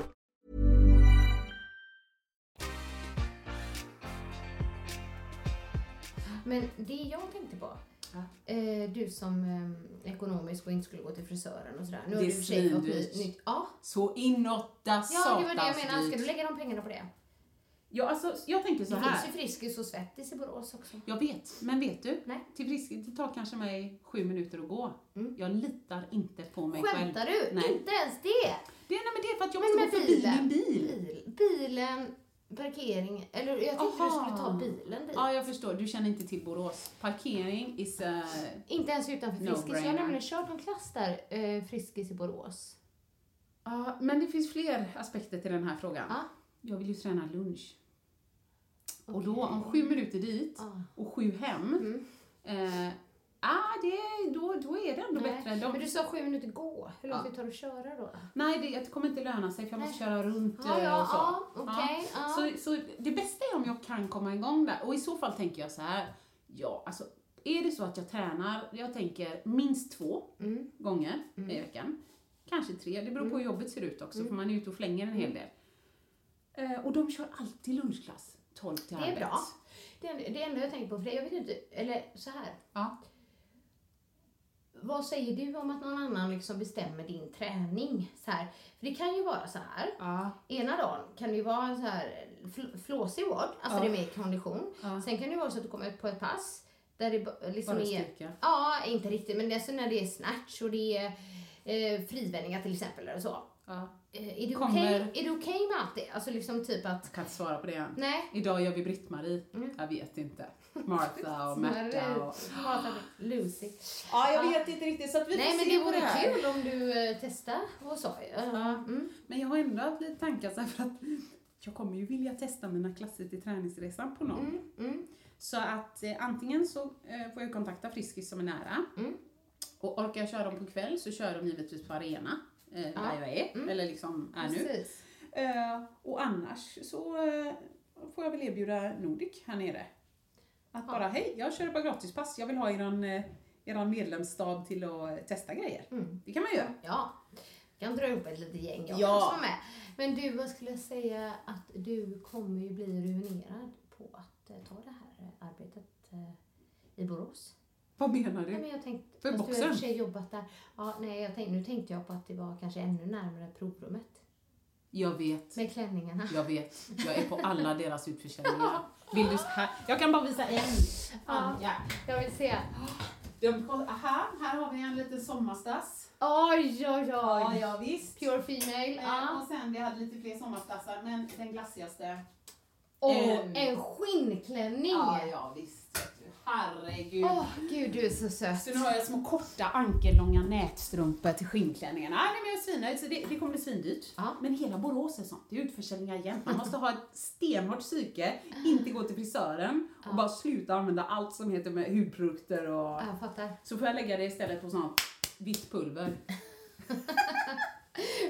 E: Men det jag tänkte på, eh, du som eh, ekonomisk och inte skulle gå till frisören och sådär. Nu har
C: Det
E: du i och för sig fått
C: svindyrt.
E: ny- nytt. Ja,
C: Så inåtta
E: ja det var det jag
C: satans
E: menade. Ska
C: dyrt.
E: du lägga de pengarna på det?
C: Ja, alltså, jag tänker så
E: Det
C: här.
E: finns ju Friskis och Svettis i Borås också.
C: Jag vet, men vet du?
E: Nej. Mm.
C: Till frisk, det tar kanske mig sju minuter att gå. Jag litar inte på mig själv.
E: Skämtar du?
C: Nej.
E: Inte ens det?
C: Det, nej, men det är för att jag
E: Men
C: måste gå
E: med
C: förbi
E: bilen.
C: min bil.
E: Bil, bilen, parkering, eller jag tänkte du
C: Aha.
E: skulle ta bilen dit.
C: Ja, jag förstår. Du känner inte till Borås. Parkering is a...
E: Inte ens utanför
C: No
E: Friskis. jag har
C: brainer.
E: nämligen kört en klass där, eh, Friskis i Borås.
C: Ja, men det finns fler aspekter till den här frågan.
E: Ja.
C: Jag vill ju träna lunch. Och då, om sju minuter dit och sju hem.
E: Mm.
C: Eh, ah, det, då, då är det ändå bättre. än Typ de-
E: Men du sa sju minuter gå. Hur långt tar det att köra då?
C: Nej, det, det kommer inte löna sig för jag måste köra runt
E: Ja,
C: eh,
E: ja,
C: och så.
E: ja, okej, ja.
C: Så, så det bästa är om jag kan komma igång där. Och i så fall tänker jag så här, ja, alltså är det så att jag tränar, jag tänker minst två
E: Mm.
C: gånger i veckan. Kanske tre, det beror på hur jobbet ser ut också,
E: Mm.
C: för man är ute och flänger en hel del. Eh, och de kör alltid lunchklass, 12 till
E: Det är
C: halv
E: bra.
C: ett.
E: Det, är- det enda jag tänker på, för det, jag vet inte, eller så här.
C: Ja.
E: Vad säger du om att någon annan liksom bestämmer din träning? Så här. För det kan ju vara så här.
C: Ja.
E: Ena dagen kan det ju vara en så här fl- flåsig vård, alltså det är mer kondition. Sen kan det ju vara så att du kommer ut på ett pass där det ba- liksom
C: Bara
E: är...
C: styrka.
E: Ja, inte riktigt, men det är så när det är snatch och det är eh, frivändningar till exempel eller så.
C: ja.
E: Eh, är det
C: Kommer-
E: okej är det okej med allt det? Alltså liksom typ att...
C: Jag kan inte svara på det än.
E: Nej. Mm.
C: Idag gör vi Britt-Marie. Jag vet inte. Martha och Märta och...
E: Hatar Lucy.
C: Ja, jag vet inte riktigt. Så att vi
E: Nej,
C: får
E: men
C: se
E: det
C: på
E: vore
C: här.
E: kul om du eh, testar och så. Eh,
C: Ja. Men jag har ändå haft lite tankar så här för att jag kommer ju vilja testa mina klasser till träningsresan på någon.
E: Mm,
C: Så att eh, antingen så eh, får jag kontakta Friskis som är nära.
E: Mm.
C: Och orkar jag köra dem på kväll så kör de givetvis på arena. Eh,
E: Ja. Mm.
C: Där jag är, eller liksom är nu.
E: Precis.
C: Eh, och annars så eh, får jag väl erbjuda Nordic här nere. Att bara, hej, jag kör bara gratispass. Jag vill ha eran, eh, eran medlemsstad till att testa grejer.
E: Mm.
C: Det kan man göra.
E: Ja. Jag kan dra ihop ett litet gäng jag
C: Ja.
E: ja. som är med. Men du, vad skulle jag säga att du kommer ju bli ruinerad på att eh, ta det här eh, arbetet eh, i Borås.
C: Vad menar
E: Nej,
C: du?
E: men jag tänkte,
C: Mm. För
E: fast du har i och
C: boxen?
E: för sig jobbat där. Ja, nej, jag tänkte, nu tänkte jag på att det var kanske ännu närmare provrummet.
C: Jag vet.
E: Med klänningarna.
C: Jag vet. Jag är på alla deras utförsäljningar. Vill du, här, jag kan bara visa en. Anja.
E: Jag vill se.
C: De, här, här har vi en liten sommarstass.
E: Oj, oj, oj.
C: Ja, ja visst.
E: Pure female.
C: Eh,
E: Ja.
C: Och sen, vi hade lite fler sommarstassar, men den glassigaste.
E: Och
C: ehm.
E: en skinnklänning. Åh,
C: Ja, ja visst. vet du. Herregud.
E: gud, du är så söt.
C: Så nu har jag små korta ankellånga nätstrumpor till skinnklänningarna. Nej, men jag är svinnöjd, så det, det kommer bli svindyrt.
E: Ja. Mm.
C: Men hela Borås är sånt, det är utförsäljningar jämt. Man måste ha ett stenhårt psyke, inte gå till frisören och bara sluta använda allt som heter med hudprodukter och...
E: Ja, Jag fattar.
C: Så får jag lägga det istället på sånt vitt pulver.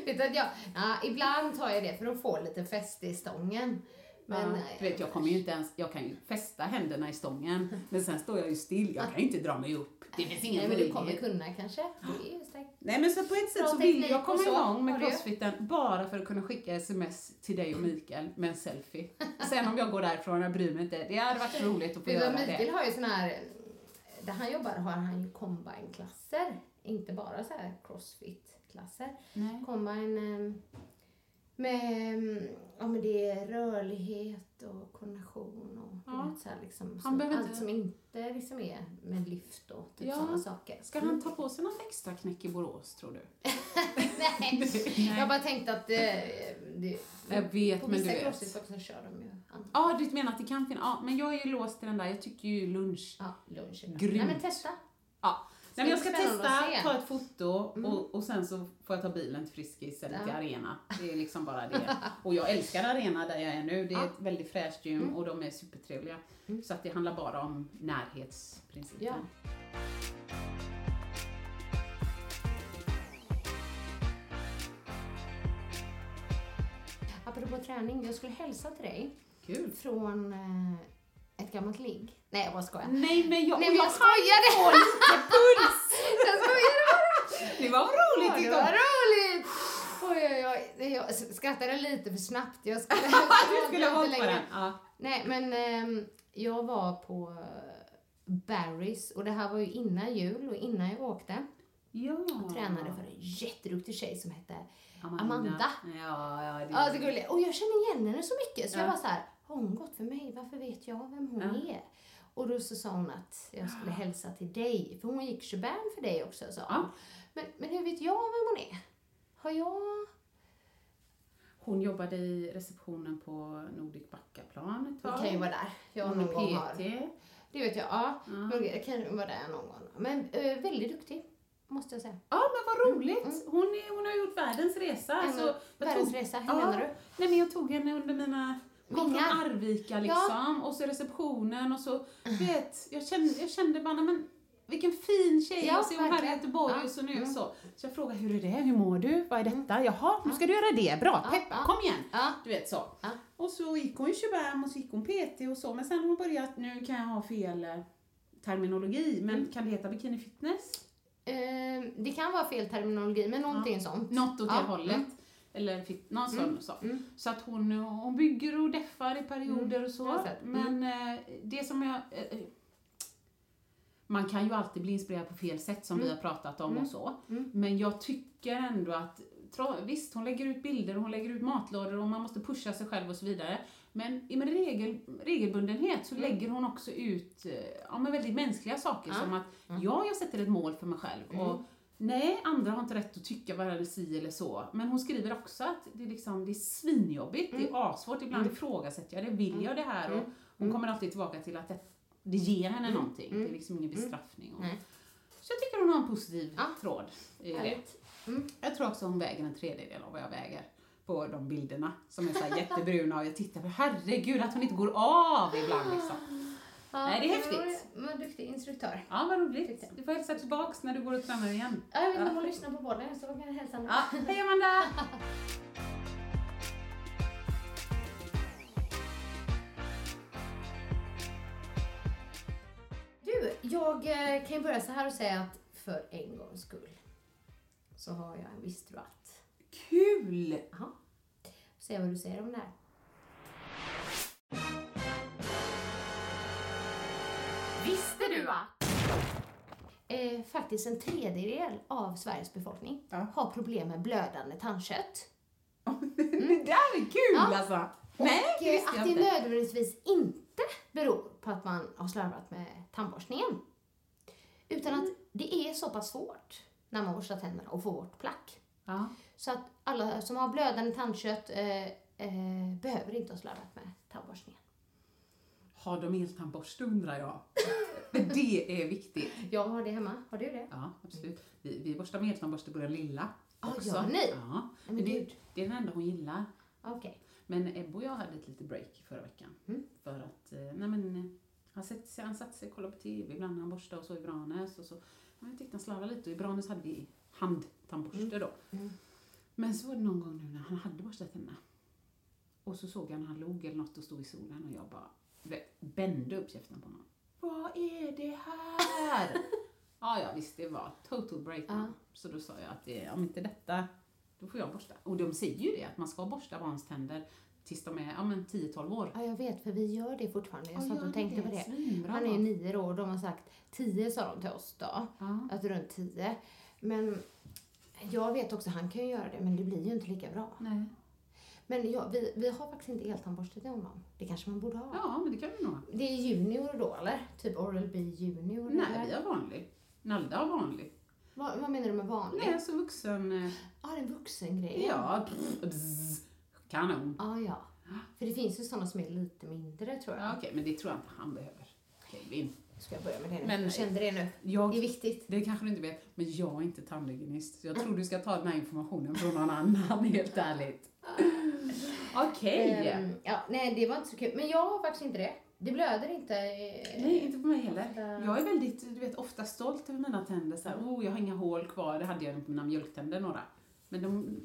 E: Vet du att jag, ja, ibland tar jag det för att få lite fäste i stången. Men, eh,
C: Ja, du vet, jag kommer ju inte ens, jag kan ju fästa händerna i stången, men sen står jag ju still, jag kan ju inte dra mig upp. Det finns ingen
E: nej, men du
C: möjlighet.
E: kommer kunna kanske. Det är ju starkt.
C: Nej men så på ett sätt
E: Bra
C: så vill
E: teknik
C: jag
E: och
C: komma
E: så,
C: igång med
E: har du.
C: crossfiten bara för att kunna skicka sms till dig och Mikael med en selfie. Sen om jag går därifrån, jag bryr mig inte. Det hade varit roligt att få
E: Vet du
C: göra
E: vad, Mikael
C: det.
E: har ju sån här, där han jobbar har han ju combine-klasser. Inte bara så här crossfit-klasser.
C: Nej.
E: Combine eh, med, eh, ja men det är rörlighet och koordination och
C: Ja.
E: du vet, så här liksom,
C: Han
E: så,
C: behöver
E: allt
C: inte-
E: som inte liksom är med lyft och typ
C: Ja.
E: sådana saker.
C: Ska han ta på sig något extra knäck i Borås, tror
E: Mm.
C: du?
E: Nej. Jag bara tänkte att eh, det,
C: Jag vet,
E: på
C: men du
E: vissa
C: vet.
E: crossfit också kör de ju annat.
C: Ja, du menar att det kan finnas... Ja, men jag är ju låst till den där. Jag tycker ju lunch.
E: Ja, lunch är bra.
C: Grymt.
E: Nej men testa.
C: Ja. Nej, men jag ska
E: bli spännande
C: testa,
E: att se. Mm.
C: ta ett foto och, och sen så får jag ta bilen till Friskis eller till
E: Ja.
C: Arena. Det är liksom bara det. Och jag älskar Arena där jag är nu. Det är ett väldigt fräscht gym
E: Mm.
C: och de är supertrevliga. Så att det handlar bara om närhetsprincipen.
E: Ja. Apropå träning, jag skulle hälsa till dig
C: Kul.
E: från eh, ett gammalt ligg. Nej jag bara skojar.
C: Nej men jag,
E: Nej,
C: Mm. och
E: men jag
C: hann
E: skojade.
C: få lite puls!
E: Jag skojar bara!
C: Det var
E: Ja,
C: roligt
E: det
C: igår.
E: var roligt! Oj, oj, oj. Nej, Jag skrattade lite för snabbt. Jag skulle,
C: Du skulle ha
E: inte
C: hållit på
E: längre.
C: den. Ja.
E: Nej, men ehm, jag var på eh, Barry's och det här var ju innan jul och innan jag åkte.
C: ja.
E: Tränade för en jätteduktig tjej som hette
C: Amanda. Mm.
E: Amanda.
C: Ja, ja, det
E: Ja, så gullig. Och jag känner igen henne så mycket så
C: Ja.
E: jag var så här, har hon gått för mig? Varför vet jag vem hon är? Och då så sa hon att jag skulle hälsa till dig, för hon gick Tjubärn för dig också sa hon.
C: Ja.
E: Men, men hur vet jag vem hon är? Har jag...
C: Hon jobbade i receptionen på Nordic Backaplan ett
E: Det
C: tag.
E: kan ju vara där. Jag
C: Hon
E: någon gång
C: är
E: har...
C: PT.
E: Det vet jag, ja. Men Jag kan vara där någon gång. Men eh, väldigt duktig, måste jag säga.
C: Ja men
E: Mm,
C: vad roligt! Hon, är, hon har gjort världens resa.
E: Hon har
C: Alltså,
E: gjort
C: jag
E: världens resa, hur menar du?
C: Nej men jag tog henne under mina... Kom från
E: Vingar. Mm.
C: Arvika liksom, och så receptionen och så, vet, jag kände, jag kände bara, nej, men vilken fin tjej,
E: Ja,
C: och så är hon här i
E: verkligen.
C: Göteborg
E: Ja, Mm.
C: och så nu så. Så jag frågade, hur är det, hur mår du, vad är detta, jaha, nu ska du göra det, bra, peppa,
E: ja.
C: kom igen!
E: Ja.
C: Du vet så.
E: Ja.
C: Och så gick hon ju Tjubärm och så gick hon PT och så, men sen har hon börjat, nu kan jag ha fel eh, terminologi, men
E: Mm.
C: kan det heta bikini fitness?
E: Eh, det kan vara fel terminologi, men någonting sånt.
C: Något åt
E: Ja,
C: det hållet.
E: mm.
C: Eller fit, någon sån sak. Så att hon, hon bygger och deffar i perioder och
E: jag
C: så.
E: har sett.
C: Men eh, det som jag... eh, eh, Man kan ju alltid bli inspirerad på fel sätt som vi har pratat om och så. Men jag tycker ändå att tro- Visst, hon lägger ut bilder och hon lägger ut matlådor och man måste pusha sig själv och så vidare. Men i med regel, regelbundenhet så lägger hon också ut eh, ja, men väldigt mänskliga saker som att ja, jag sätter ett mål för mig själv och nej, andra har inte rätt att tycka vad si eller så. Men hon skriver också att det är, liksom, det är svinjobbigt,
E: Mm.
C: det är asvårt, ibland ifrågasätter jag det, vill jag det här? Och hon kommer alltid tillbaka till att det, det ger henne någonting, det är liksom ingen bestraffning. Och,
E: Mm. Nej.
C: så jag tycker hon har en positiv
E: Ja.
C: tråd Eh, i det.
E: Härligt. Mm.
C: Jag tror också hon väger en tredjedel av vad jag väger. på de bilderna som är så här jättebruna och jag tittar på herregud att hon inte går av ibland liksom.
E: Ja,
C: Nej, det är
E: men det var-
C: häftigt.
E: Men duktig instruktör.
C: Ja, vad roligt. Du får hälsa tillbaks när du går och tränar igen.
E: Ja, Jag vet inte om hon lyssnar på bollen så då kan jag hälsa henne.
C: Ja, hej Amanda!
E: Du, jag eh, kan ju börja så här och säga att för en gångs skull så har jag en viss dratt.
C: Kul!
E: Jaha. Se vad du säger om det här. Visste du att? Eh, faktiskt en tredjedel av Sveriges befolkning
C: Ja.
E: har problem med blödande tandkött.
C: Det där är kul
E: Mm. Ja.
C: alltså!
E: Och
C: Nej, det
E: eh,
C: visste
E: att
C: jag
E: det
C: inte.
E: nödvändigtvis inte beror på att man har slarvat med tandborstningen. Utan att det är så pass svårt när man borstar tänderna att få bort plack.
C: Ja.
E: Så att alla som har blödande tandkött eh, eh, behöver inte ha slarvat med tandborstningen.
C: Har de eltandborste undrar jag. Men det är viktigt.
E: Jag har det hemma. Har du det?
C: Ja, absolut. Vi, vi borstar med eltandborste på den lilla
E: Ja,
C: också.
E: gör ni?
C: Ja.
E: men
C: Men det,
E: gud.
C: det är den enda hon gillar.
E: Okej.
C: Men Ebbe och jag hade ett litet break förra veckan.
E: Mm.
C: För att, eh, nej men, eh, han satte sig, han satt sig och kollade på TV ibland när han borstade och så i Branäs och så. Men jag tyckte han slarvade lite och i Branäs hade vi handtandborste
E: Mm.
C: då. Men så var det någon gång nu när han hade borstat tänderna. Och så såg jag när han log eller något och stod i solen och jag bara du vet, bände upp käften på honom. Vad är det här? ja, ja visst det var total breakdown. Så då sa jag att det, om inte detta, då får jag borsta. Och de säger ju det, att man ska borsta barns tänder tills de är ja, men 10-12 år.
E: Ja, jag vet för vi gör det fortfarande. Jag
C: Ja,
E: satt
C: gör ni
E: och tänkte
C: det?
E: på det.
C: Svinbra.
E: Han är ju nio år och de har sagt tio sa de till oss då.
C: Ja.
E: Att runt tio. Men jag vet också, han kan ju göra det men det blir ju inte lika bra.
C: Nej.
E: Men jag, vi, vi har faktiskt inte eltandborste till honom. Det kanske man borde ha.
C: Ja, men det kan vi nog ha.
E: Det är junior då eller? Typ Oral B junior?
C: Nej,
E: eller?
C: vi har vanlig. Nalda har vanlig.
E: Vad, vad menar du med vanlig?
C: Nej, så vuxen... eh,
E: Ja, det är en vuxengrej.
C: Ja, pff, bzz, kanon.
E: Ja, ja. För det finns ju sådana som är lite mindre tror jag.
C: Ja, Okej, men det tror jag inte han behöver. Kevin.
E: Ska jag börja med det nu?
C: Men-
E: jag kände det nu.
C: Jag-
E: Det är viktigt.
C: Det kanske du inte vet, men jag är inte tandhygienist. Så jag tror du ska ta den här informationen från någon annan, helt ärligt. Okej.
E: Ehm, ja, nej, det var inte så kul. Men jag har faktiskt inte det. Det blöder inte. eh,
C: Nej, inte på mig heller. Jag är väldigt, du vet, ofta stolt över mina tänder. Så här,
E: Mm.
C: oh, jag har inga hål kvar. Det hade jag på mina mjölktänder, några. Men de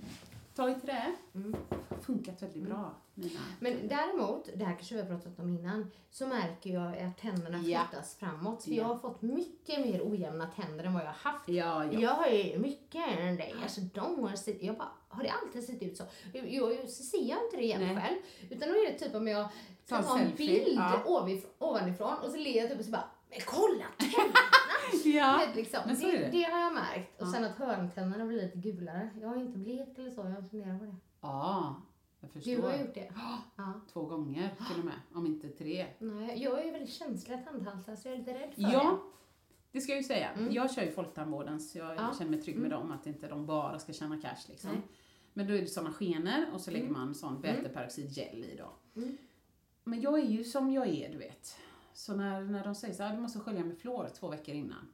C: tar i trä.
E: Mm.
C: Funkat väldigt bra, mina.
E: Men däremot, det här kanske vi har pratat om innan, så märker jag att tänderna
C: Ja.
E: flyttas framåt. För
C: Ja.
E: jag har fått mycket mer ojämna tänder än vad jag har haft.
C: Ja, ja.
E: Jag har ju mycket än dig. Alltså de har sett, jag bara, har det alltid sett ut så? Jag, jag, så ser jag inte det igen
C: Nej.
E: själv. Utan då är det typ om jag
C: Ta
E: ska
C: en
E: ta en
C: selfie,
E: bild
C: ja.
E: ovanifrån, ovanifrån och så ler jag typ och så bara, men kolla tänderna!
C: Ja,
E: Vet, liksom.
C: men så är det.
E: har jag märkt. Och sen att hörntänderna blir lite gulare. Jag har inte blekt eller så, jag funderar på det.
C: Ja, jag förstår.
E: Du har gjort det. Ja.
C: Två gånger till och med, om inte tre.
E: Nej, jag är ju väldigt känslig tandhalsare så jag är lite rädd för
C: Ja,
E: det. Mm.
C: det ska jag ju säga. Jag kör ju folktandvården så jag
E: Ja. Mm.
C: känner mig trygg med dem, att inte de bara ska tjäna cash liksom.
E: Nej. Mm.
C: Men då är det sådana skenor och så lägger man sån väteperoxidgel i då. Men jag är ju som jag är, du vet. Så när, när de säger så här, du måste skölja med fluor två veckor innan.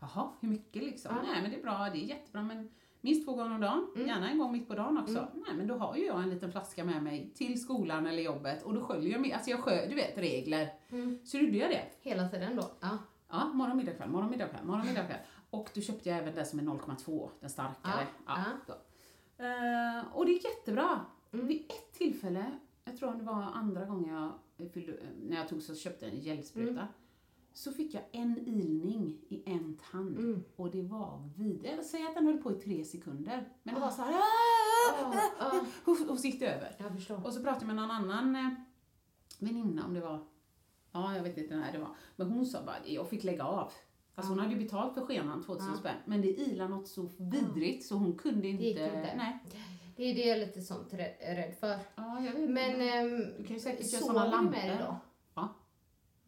C: Jaha, hur mycket liksom? Nej men det är bra, det är jättebra men minst två gånger om dagen,
E: Mm.
C: gärna en gång mitt på dagen också. Nej men då har ju jag en liten flaska med mig till skolan eller jobbet och då sköljer jag med, alltså jag sköljer, du vet regler.
E: Mm.
C: Så då gjorde jag det.
E: Hela tiden då. Ja.
C: Ja, morgon, middag, kväll, morgon, middag, kväll, morgon, middag, kväll. Och då köpte jag även den som är 0,2, den starkare.
E: Ja,
C: då. Eh, och det gick jättebra. Vid ett tillfälle, jag tror det var andra gången jag fyllde, eh, när jag tog så köpte jag en gelspruta, så fick jag en ilning i en tand. Och det var vid, jag säger att den höll på i tre sekunder. Men det var så här, "Ah, ah, ah,
E: ah.
C: och, och så gick det över.
E: Jag förstår.
C: Och så pratade jag med någon annan eh, väninna om det var, ja jag vet inte när det var, men hon sa bara jag fick lägga av. Alltså hon hade ju betalt för skenan, 2000 spänn, men det ilade något så vidrigt så hon kunde inte.
E: gick inte.
C: Nej.
E: Det är det jag är lite sånt rä- rädd för.
C: Ja, jag vet
E: Men
C: inte.
E: ehm,
C: du kan ju säkert göra
E: sover
C: sådana
E: du
C: lampor.
E: med det då?
C: Ja.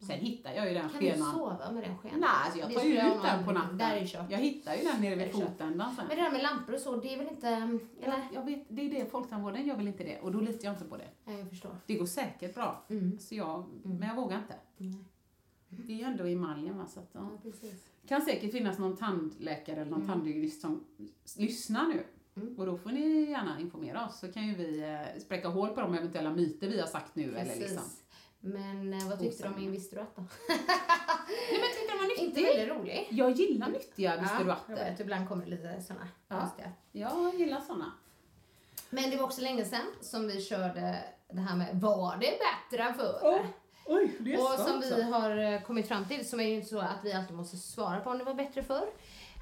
C: Sen hittade jag ju den
E: Kan du
C: skenan.
E: sova med den skenan?
C: Nej, alltså jag
E: Det
C: tar ju
E: skulle jag
C: ut den
E: nog
C: på
E: aldrig-
C: natten.
E: Där är kört.
C: jag hittar ju den nere
E: Där är
C: vid
E: kört.
C: fotändan sen.
E: Men det där med lampor och så, det är väl inte... ehm, Eller?
C: Jag vet, det är det, folktandvården gör väl inte det och då litar jag inte på det.
E: Nej, jag förstår.
C: Det går säkert bra,
E: Mm.
C: så jag, men jag vågar inte. Det är ju ändå emaljen va, så att, ja.
E: Ja, Mm. precis.
C: kan säkert finnas någon tandläkare eller någon tandhygienist som lyssnar nu
E: Mm.
C: Och då får ni gärna informera oss så kan ju vi eh, spräcka hål på de eventuella myter vi har sagt nu. Eller liksom.
E: Men eh, vad tyckte du om
C: Osanna.
E: Min visste du att då?
C: Nej men tyckte den var
E: Inte
C: nyttig.
E: väldigt rolig.
C: Jag gillar nyttiga
E: Ja, jag
C: bistroatter.
E: vet, ibland kommer det lite sådana
C: Ja.
E: konstiga.
C: Ja, jag gillar såna.
E: Men det var också länge sedan som vi körde det här med var det bättre förr?
C: Oh. Oj, det
E: Och som vi har eh, kommit fram till så är det ju inte så att vi alltid måste svara på om det var bättre förr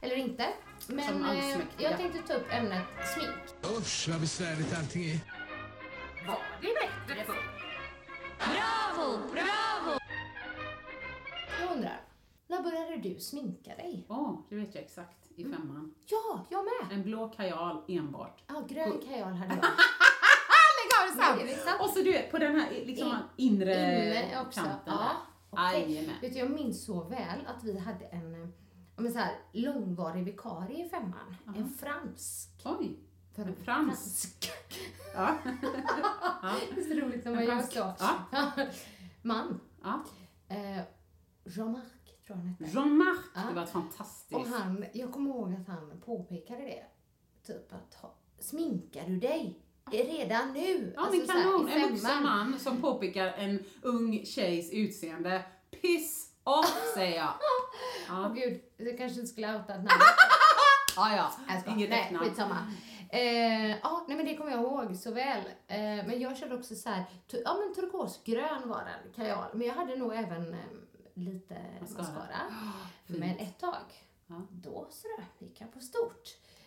E: eller inte. Men
C: Som
E: eh,
C: allsmäktiga.
E: jag tänkte ta upp ämnet smink.
F: Usch, vad besvärligt allting är.
E: Jag undrar, när började du sminka dig?
C: Åh, det vet jag exakt. I
E: Mm.
C: femman.
E: Ja, jag med!
C: En blå kajal enbart.
E: Ja, grön kajal hade jag.
C: Lägg av
E: Nej, det är sant.
C: Och så du vet, på den här liksom,
E: In-
C: inre
E: Inne också.
C: Eh, kanten
E: Ja.
C: där.
E: Okej.
C: Jajamän.
E: Vet du, jag minns så väl att vi hade en eh, ja, men så här, långvarig vikarie i femman. En fransk.
C: Oj.
E: För
C: En frans. Ja.
E: Det är så roligt när man
C: En
E: gör
C: fransk.
E: så. Man.
C: ja.
E: Eh, Jean-Marc tror jag han hette.
C: Jean-Marc, det
E: Ja.
C: var ett fantastiskt.
E: Och han, jag kommer ihåg att han påpekade det. Typ att, ha- sminkar du dig? Redan nu?
C: Ja men
E: Alltså så här, i
C: kanon, en vuxen
E: femman.
C: man som påpekar en ung tjejs utseende. Piss off säger jag.
E: Åh gud, jag kanske inte skulle ha outat namnet.
C: Ah, ja,
E: Jag skojar.
C: inget
E: nej,
C: äcknamn.
E: skitsamma. Eh, ja, nej men det kommer jag ihåg så väl. Eh, men jag körde också så här, tu- ja men turkosgrön var den, kajal. Men jag hade nog även eh, lite
C: Mascara.
E: mascara. men ett tag,
C: Ja.
E: då så där, gick jag på stort.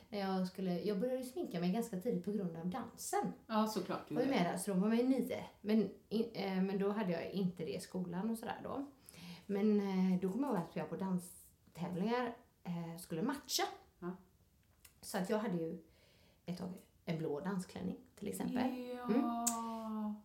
E: När Jag, skulle, jag började sminka mig ganska tidigt på grund av dansen.
C: Ja såklart. Du
E: var ju
C: gör det.
E: med där, så då var man ju nio. Men, in, eh, men då hade jag inte det i skolan och sådär då. Men eh, då kommer jag ihåg att jag på danstävlingar eh, skulle matcha.
C: Ja.
E: Så att jag hade ju ett tag en blå dansklänning till exempel.
C: Ja.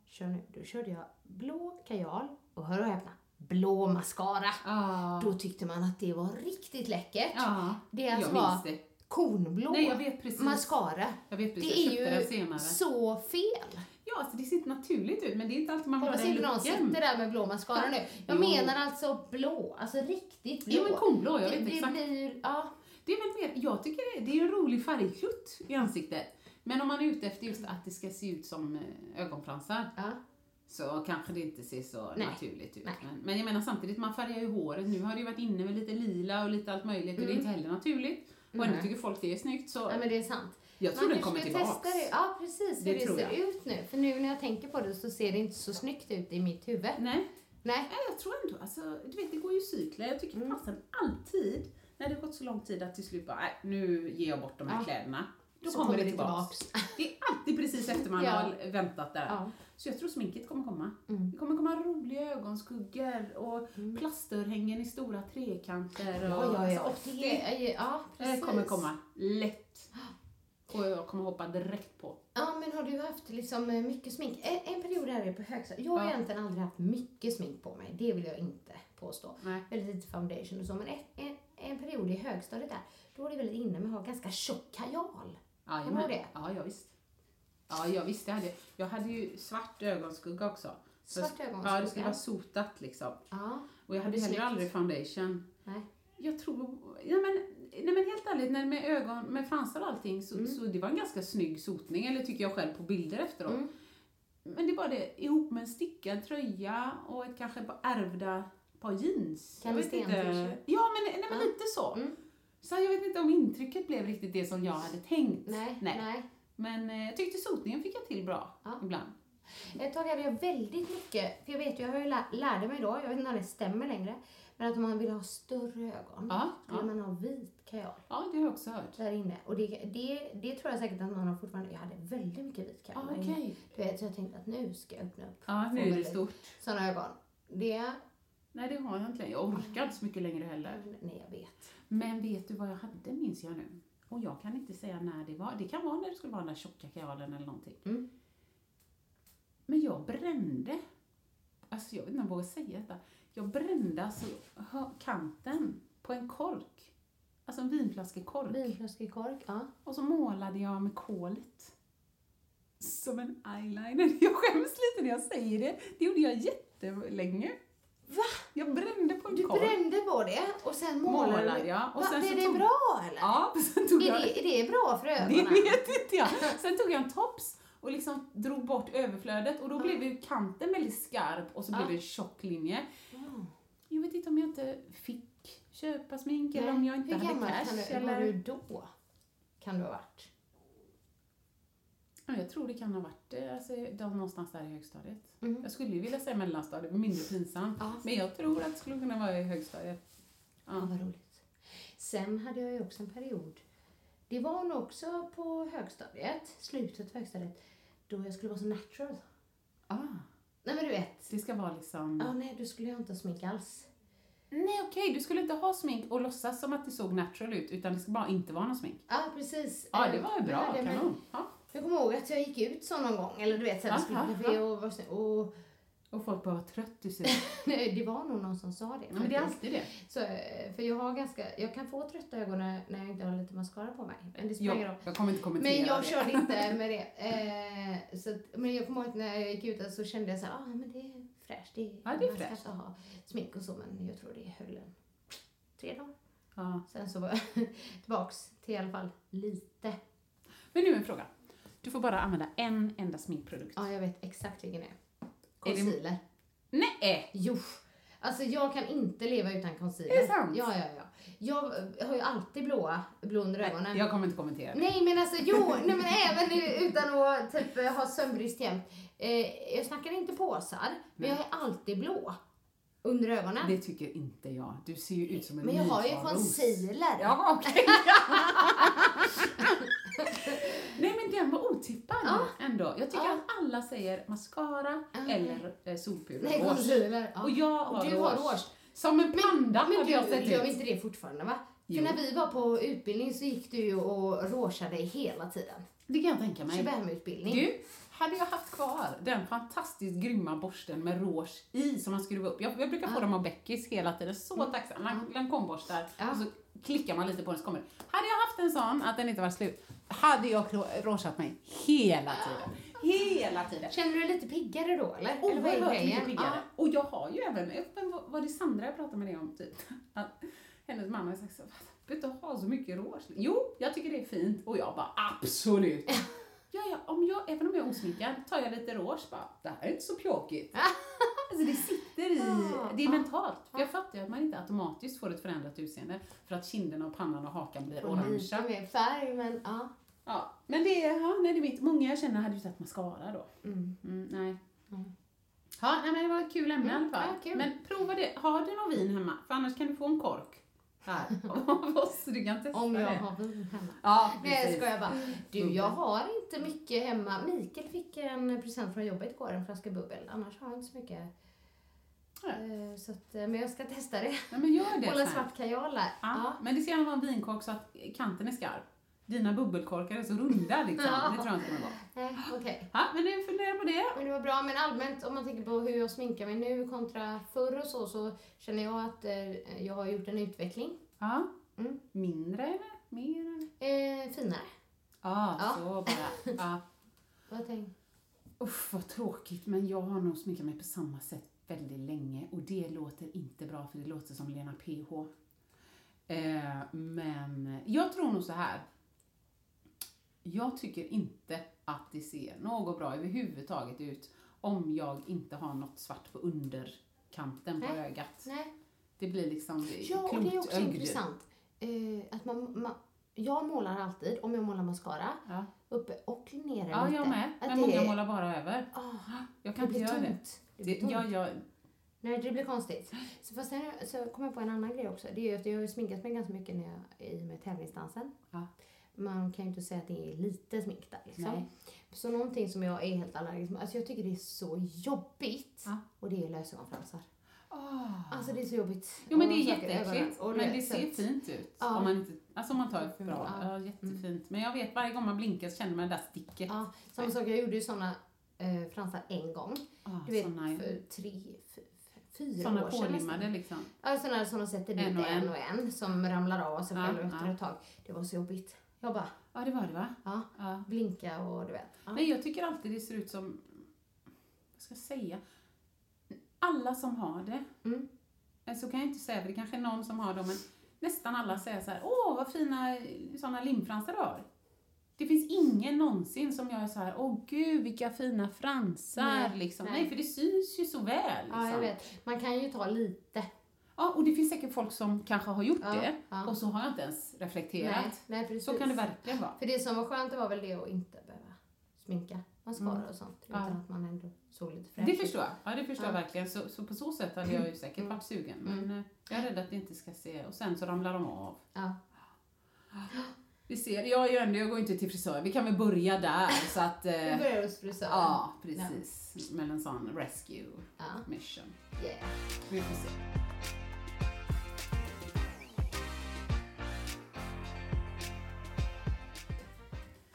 E: Kör nu. Då körde jag blå kajal och hör och häpna, blå mascara.
C: Ah.
E: Då tyckte man att det var riktigt läckert.
C: Ja,
E: Det alltså
C: jag
E: var
C: minns det.
E: kornblå
C: Nej, jag vet precis.
E: mascara.
C: Jag vet precis, jag
E: det
C: köpte
E: är
C: den senare.
E: ju så fel.
C: Ja, alltså det ser inte naturligt ut men det är inte alltid man vill ha
E: Hoppas
C: den
E: inte någon
C: looken.
E: sitter där med blå mascara nu. Jag
C: Jo.
E: menar alltså blå, alltså riktigt blå.
C: Jo, men kornblå, jag
E: Det-
C: vet
E: det
C: exakt.
E: Blir, ja,
C: Det är väl mer, jag tycker det, det är en rolig färgklutt i ansiktet. Men om man är ute efter just att det ska se ut som eh, ögonfransar
E: ja.
C: så kanske det inte ser så
E: Nej.
C: naturligt ut.
E: Nej.
C: Men, men jag menar samtidigt, man färgar ju håret. Nu har det ju varit inne med lite lila och lite allt möjligt och det är inte heller naturligt. Och ändå tycker folk det är snyggt så
E: Nej, Mm. men det är sant.
C: jag tror
E: Man
C: den kommer
E: kanske ska
C: tillbaks.
E: testa det. Ja, precis.
C: Det
E: Hur det
C: tror
E: ser
C: jag.
E: ut nu. För nu när jag tänker på det så ser det inte så snyggt ut i mitt huvud.
C: Nej.
E: Nej.
C: Nej, jag tror ändå, alltså, du vet det går ju i cykler. Jag tycker
E: Mm.
C: fasen alltid när det har gått så lång tid att till slut bara, nej nu ger jag bort de här
E: Ja.
C: kläderna. Då
E: Så
C: kommer,
E: kommer
C: det
E: det
C: tillbaks.
E: tillbaks.
C: Det är alltid precis efter man
E: Ja.
C: har väntat där.
E: Ja. Mm.
C: Så jag tror sminket kommer komma. Det kommer komma roliga ögonskuggor och plastörhängen i stora trekanter. Och,
E: Ja, ja, ja.
C: Alltså,
E: Det
C: det
E: är ju- ja, precis.
C: kommer komma lätt. Och jag kommer hoppa direkt på.
E: Ja, men har du haft liksom eh, mycket smink? En, en period här är på högstadiet. Jag har
C: Ja.
E: egentligen aldrig haft mycket smink på mig. Det vill jag inte påstå.
C: Nej.
E: Väldigt lite foundation och så. Men ett, en, en period i högstadiet där, då var det väldigt inne med att ha ganska tjock kajal.
C: Ja,
E: Kommer du ihåg det?
C: Ja, ja, visst. Ja, ja, visst det hade jag. Jag hade ju svart ögonskugga också. Så-
E: Svart ögonskugga?
C: Ja, det skulle vara sotat liksom.
E: Ja.
C: Och jag hade
E: Snyggt.
C: heller aldrig foundation.
E: Nej.
C: Jag tror, nej men, nej men helt ärligt, när med ögon, med fransar och allting så,
E: Mm.
C: så det var en ganska snygg sotning, eller tycker jag själv på bilder efteråt.
E: Mm.
C: Men det var det, ihop med en stickad tröja och ett kanske på ärvda par jeans.
E: Kalle Sten-t-shirt. Mm.
C: Ja, men, nej, men lite så. Så jag vet inte om intrycket blev riktigt det som jag hade tänkt.
E: Nej, nej.
C: Men eh, jag tyckte sotningen fick jag till bra
E: Ja.
C: ibland.
E: Ett tag hade jag väldigt mycket, för jag vet ju, jag har ju lä- lärde mig då, jag vet inte om det stämmer längre, men att om man vill ha större ögon,
C: Ja,
E: vill
C: ja.
E: man ha vit kajal.
C: Ja, det har jag också hört.
E: där inne. Och det, det, det tror jag säkert att någon har fortfarande. Jag hade väldigt mycket vit kajal
C: Ah,
E: där inne.
C: okej.
E: Du vet, så jag tänkte att nu ska jag öppna upp.
C: Ja, nu
E: Få
C: är det
E: väldigt-
C: stort.
E: Sådana ögon. Det...
C: Nej, det har jag inte längre. Jag orkar inte så mycket längre heller.
E: Nej, jag vet.
C: Men vet du vad jag hade, minns jag nu. Och jag kan inte säga när det var. Det kan vara när det skulle vara den där tjocka kajalen eller någonting.
E: Mm.
C: Men jag brände. Alltså jag vet inte om jag vågar säga detta. Jag brände alltså hö- kanten på en kork. Alltså en vinflaskekork.
E: Vinflaskekork, ja.
C: Och så målade jag med kolet. Som en eyeliner. Jag skäms lite när jag säger det. Det gjorde jag jättelänge. Va? Jag brände på en
E: Du
C: korv.
E: brände på det och sen målade,
C: Målade
E: du.
C: jag. Och
E: Va,
C: sen
E: är
C: så
E: det
C: tog-
E: bra eller?
C: Ja, sen tog
E: Är
C: jag
E: det, är det bra för
C: Det
E: ögonen?
C: vet inte jag. Sen tog jag en tops och liksom drog bort överflödet och då blev ju kanten väldigt skarp och så blev det en tjock linje. Jag vet inte om jag inte fick köpa smink eller om jag inte
E: Hur
C: hade
E: gammal
C: cash.
E: kan du, var
C: eller...
E: du då? Kan du ha varit?
C: Ja, jag tror det kan ha varit eh, alltså, de någonstans där i högstadiet. Jag skulle ju vilja säga mellanstadiet, mindre pinsamt.
E: Mm. Ja.
C: Men jag tror att det skulle kunna vara i högstadiet.
E: Ja, vad roligt. Sen hade jag ju också en period, det var nog också på högstadiet, slutet på högstadiet, då jag skulle vara så natural.
C: Ah,
E: Nej men du vet.
C: det ska vara liksom...
E: Ja, nej, då skulle jag inte ha smink alls.
C: Nej okej, du skulle inte ha smink och låtsas som att det såg natural ut utan det ska bara inte vara någon smink.
E: Ja, precis.
C: Ja,
E: Eh,
C: det var ju
E: jag
C: bra.
E: hade- men
C: Kanon. Ja.
E: Jag kommer ihåg att jag gick ut så någon gång, eller du vet, så här, vi skulle
C: Aha,
E: på café och var snö- och
C: Och folk bara, vad trött du ser ut.
E: Nej, det var nog någon som sa det.
C: Ja, men det är
E: faktiskt.
C: alltid det.
E: Så, eh, för jag har ganska, jag kan få trötta ögon när när jag inte har lite mascara på mig. Men det spelar ingen roll.
C: Jag, jag kommer inte kommentera
E: Men jag
C: det.
E: körde inte med det. Eh, så att, men jag kommer ihåg att när jag gick ut där så kände jag så här, ah, men det är fräscht. Det är,
C: Ja, det är
E: man ska
C: fräscht.
E: inte ha smink och så, men jag tror det höll en tre dagar.
C: Ja.
E: Sen så var jag tillbaks till i alla fall lite.
C: Men nu en fråga. Du får bara använda en enda sminkprodukt.
E: Ja, jag vet exakt vilken det är.
C: Är det-
E: Concealer.
C: Nej!
E: Jo. Alltså jag kan inte leva utan concealer.
C: Är det sant?
E: Ja, ja, ja. Jag eh, har ju alltid blåa, blå under ögonen.
C: Jag kommer inte kommentera det.
E: Nej men alltså jo, nej men även utan att typ eh, ha sömnbrist jämt. Eh, jag snackar inte påsar, men jag är alltid blå under ögonen.
C: Det tycker inte jag. Du ser ju ut som en
E: men jag har ju
C: nyfarros.
E: concealer.
C: Ja, okej. Nej men den var otippad ändå. Jag tycker
E: Ja.
C: att alla säger mascara eller eh, solpuder.
E: Nej,
C: Års.
E: concealer. Ja.
C: Och jag har
E: du har års.
C: Som en panda
E: Men
C: hade
E: du
C: jag sett
E: gör
C: ut.
E: inte det fortfarande va?
C: Jo.
E: För när vi var på utbildning så gick du ju och råsade hela tiden.
C: Det kan jag tänka mig.
E: Shabam-utbildning.
C: Du, hade jag haft kvar den fantastiskt grymma borsten med rouge i som man skruvar upp. Jag, jag brukar få dem av Beckis hela tiden, så tacksam. Man Lancomeborstar
E: Ja.
C: och så klickar man lite på den så kommer det. Hade jag haft en sån, att den inte var slut, hade jag rå- rougeat mig hela tiden. Hela tiden.
E: Känner du dig lite piggare då eller? eller vad är
C: Oerhört
E: grejen?
C: mycket piggare.
E: Ja.
C: Och jag har ju även, vem var- var det Sandra jag pratade med dig om typ? Att hennes mamma har sagt så, "Va, behöver inte ha så mycket rouge. Jo, jag tycker det är fint. Och jag bara, absolut. Ja, ja, om jag, även om jag är osminkad tar jag lite rouge bara, det här är inte så pjåkigt. Alltså det sitter i, det är mentalt. För jag fattar ju att man inte automatiskt får ett förändrat utseende för att kinderna och pannan och hakan blir
E: Och
C: orangea.
E: lite mer färg men ja.
C: Ja, men det är, ja, nej, det är mitt. Många jag känner hade ju tagit mascara då. Mm, nej. Ja, nej, men det var ett kul ämne i alla fall.
E: Mm, ja, kul.
C: Men prova det. Har du någon vin hemma? För annars kan du få en kork. Här. Av oss. Du kan testa
E: Om jag
C: det.
E: har vin hemma.
C: Ja,
E: Nej
C: precis.
E: jag skojar bara. Du jag har inte mycket hemma. Mikael fick en present från jobbet igår, en flaska bubbel. Annars har jag inte så mycket. Eh, Så att, eh, men jag ska testa det.
C: Ja, men gör det
E: Hålla
C: sen.
E: svart kajal där.
C: Ja,
E: Ja.
C: Men det ska gärna vara en vinkork så att kanten är skarp. Dina bubbelkorkar är så runda liksom.
E: Ja.
C: Det tror jag inte kommer gå.
E: Nej, Okej.
C: Ja, men nu funderar på det.
E: Men det var bra, men allmänt om man tänker på hur jag sminkar mig nu kontra förr och så, så känner jag att eh, jag har gjort en utveckling.
C: Ja.
E: Mm.
C: Mindre eller? Mer eller?
E: Eh, finare.
C: Ja,
E: Ja.
C: så bara. Ja.
E: Vad tänker
C: Uff, vad tråkigt, men jag har nog sminkat mig på samma sätt väldigt länge och det låter inte bra för det låter som Lena PH. Eh, men jag tror nog så här. Jag tycker inte att det ser något bra överhuvudtaget ut om jag inte har något svart på underkanten på
E: Nej.
C: ögat.
E: Nej.
C: Det blir liksom
E: Ja, och det är också
C: klotögd.
E: intressant. Eh, att man, man, jag målar alltid, om jag målar mascara,
C: Ja,
E: uppe och nere
C: ja
E: lite.
C: jag med.
E: Att
C: Men
E: det
C: många
E: är-
C: målar bara över.
E: Ah,
C: Jag
E: det
C: kan inte
E: blir
C: göra det.
E: tomt. Det blir
C: det
E: tomt.
C: jag, jag,
E: Nej, det blir konstigt. Så, fast sen så kom jag på en annan grej också. Det är ju att jag har ju sminkat mig ganska mycket när jag, i och med tävlingsdansen.
C: Ja.
E: Man kan ju inte säga att det är lite smink där liksom.
C: Nej.
E: Så någonting som jag är helt allergisk mot, alltså jag tycker det är så jobbigt.
C: Ja.
E: Och det är lösögonfransar. Alltså det är så jobbigt.
C: Jo men det
E: Och
C: är
E: saker i
C: jätteäckligt,
E: ögonen. Och
C: men
E: vet,
C: det
E: så
C: ser
E: att-
C: fint ut.
E: Ja. Mm.
C: Om man inte, alltså om man tar ett bra,
E: Ja.
C: ja jättefint. Men jag vet varje gång man blinkar så känner man det där sticket.
E: Ja, samma sak. Jag gjorde ju såna eh, fransar en gång.
C: Ah,
E: Du vet,
C: såna,
E: för tre, f- f- fyra
C: såna
E: år sedan nästan.
C: pålimmade liksom.
E: Ja, sådana som man sätter dit en och en, och en som ramlar av sig
C: Ja,
E: själv efter
C: ja.
E: ett tag. Det var så jobbigt. Jag bara,
C: Ja det var det va?
E: ja,
C: Ja.
E: blinka och du vet. Ja.
C: Nej jag tycker alltid det ser ut som, vad ska jag säga? Alla som har det
E: Mm.
C: eh, så kan jag inte säga, för det kanske är någon som har dem, men nästan alla säger så här, åh vad fina sådana limfransar du har. Det finns ingen någonsin som jag är så här, åh gud vilka fina fransar.
E: Nej,
C: liksom.
E: nej.
C: nej för det syns ju så väl. Liksom.
E: Ja, jag vet. Man kan ju ta lite.
C: Ja, och det finns säkert folk som kanske har gjort
E: Ja,
C: det
E: ja.
C: och så har jag inte ens reflekterat.
E: Nej, nej, precis.
C: Så kan det verkligen vara.
E: För det som var skönt det var väl det att inte behöva sminka mascara och sånt. Utan
C: Mm. Ja.
E: att man ändå såg lite fräsch
C: Det
E: ut.
C: förstår jag. Ja, det förstår jag
E: Ja. Mm.
C: verkligen. Så, så på så sätt hade jag ju säkert varit sugen. Men eh, jag är rädd att det inte ska se. Och sen så ramlar de av.
E: Ja.
C: Vi ser. Jag, är ju ändå, jag går inte till frisör. Vi kan väl börja där. Så att,
E: Nu
C: eh,
E: börjar hos frisören.
C: ja, precis. Med en sån rescue
E: Ja.
C: mission.
E: Yeah.
C: Vi får se.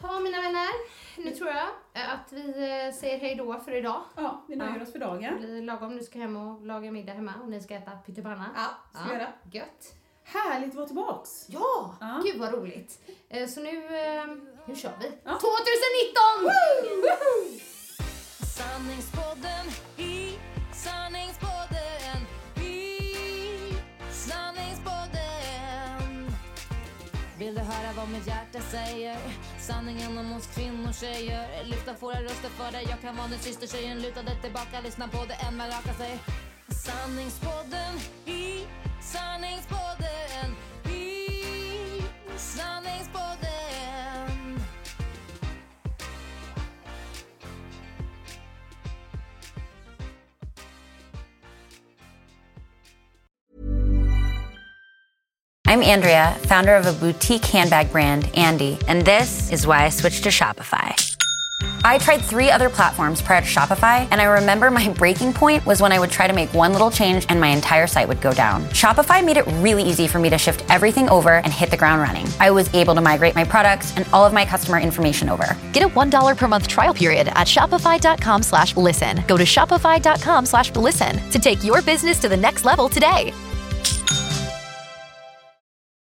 E: Ja, mina vänner. Nu tror jag eh, att vi eh, säger hej då för idag.
C: Ja, vi nöjer
E: Ja.
C: oss för
E: Det
C: dagen.
E: blir lagom. Du ska hem och laga middag hemma och ni ska äta pyttipanna.
C: Ja, ska vi göra.
E: Gött.
C: Härligt att vara tillbaks.
E: Ja!
C: Ja.
E: Gud vad roligt. Eh, Så nu, eh, nu kör vi.
C: Ja.
E: 2019!
D: Sanningspodden i sanningspodden i sanningspodden Vill du höra vad mitt hjärta säger? Sanningen om oss kvinnor, tjejer Lyfta våra röster för dig Jag kan vara din syster, tjejen Luta dig tillbaka, lyssna på det än man rakar sig Sanningspodden i sanningspodden i sanningspodden
G: I'm Andrea, founder of a boutique handbag brand, Andy, and this is why I switched to Shopify. I tried three other platforms prior to Shopify, and I remember my breaking point was when I would try to make one little change and my entire site would go down. Shopify made it really easy for me to shift everything over and hit the ground running. I was able to migrate my products and all of my customer information over.
H: Get a $1 per month trial period at Shopify.com slash listen. Go to Shopify.com slash listen to take your business to the next level today.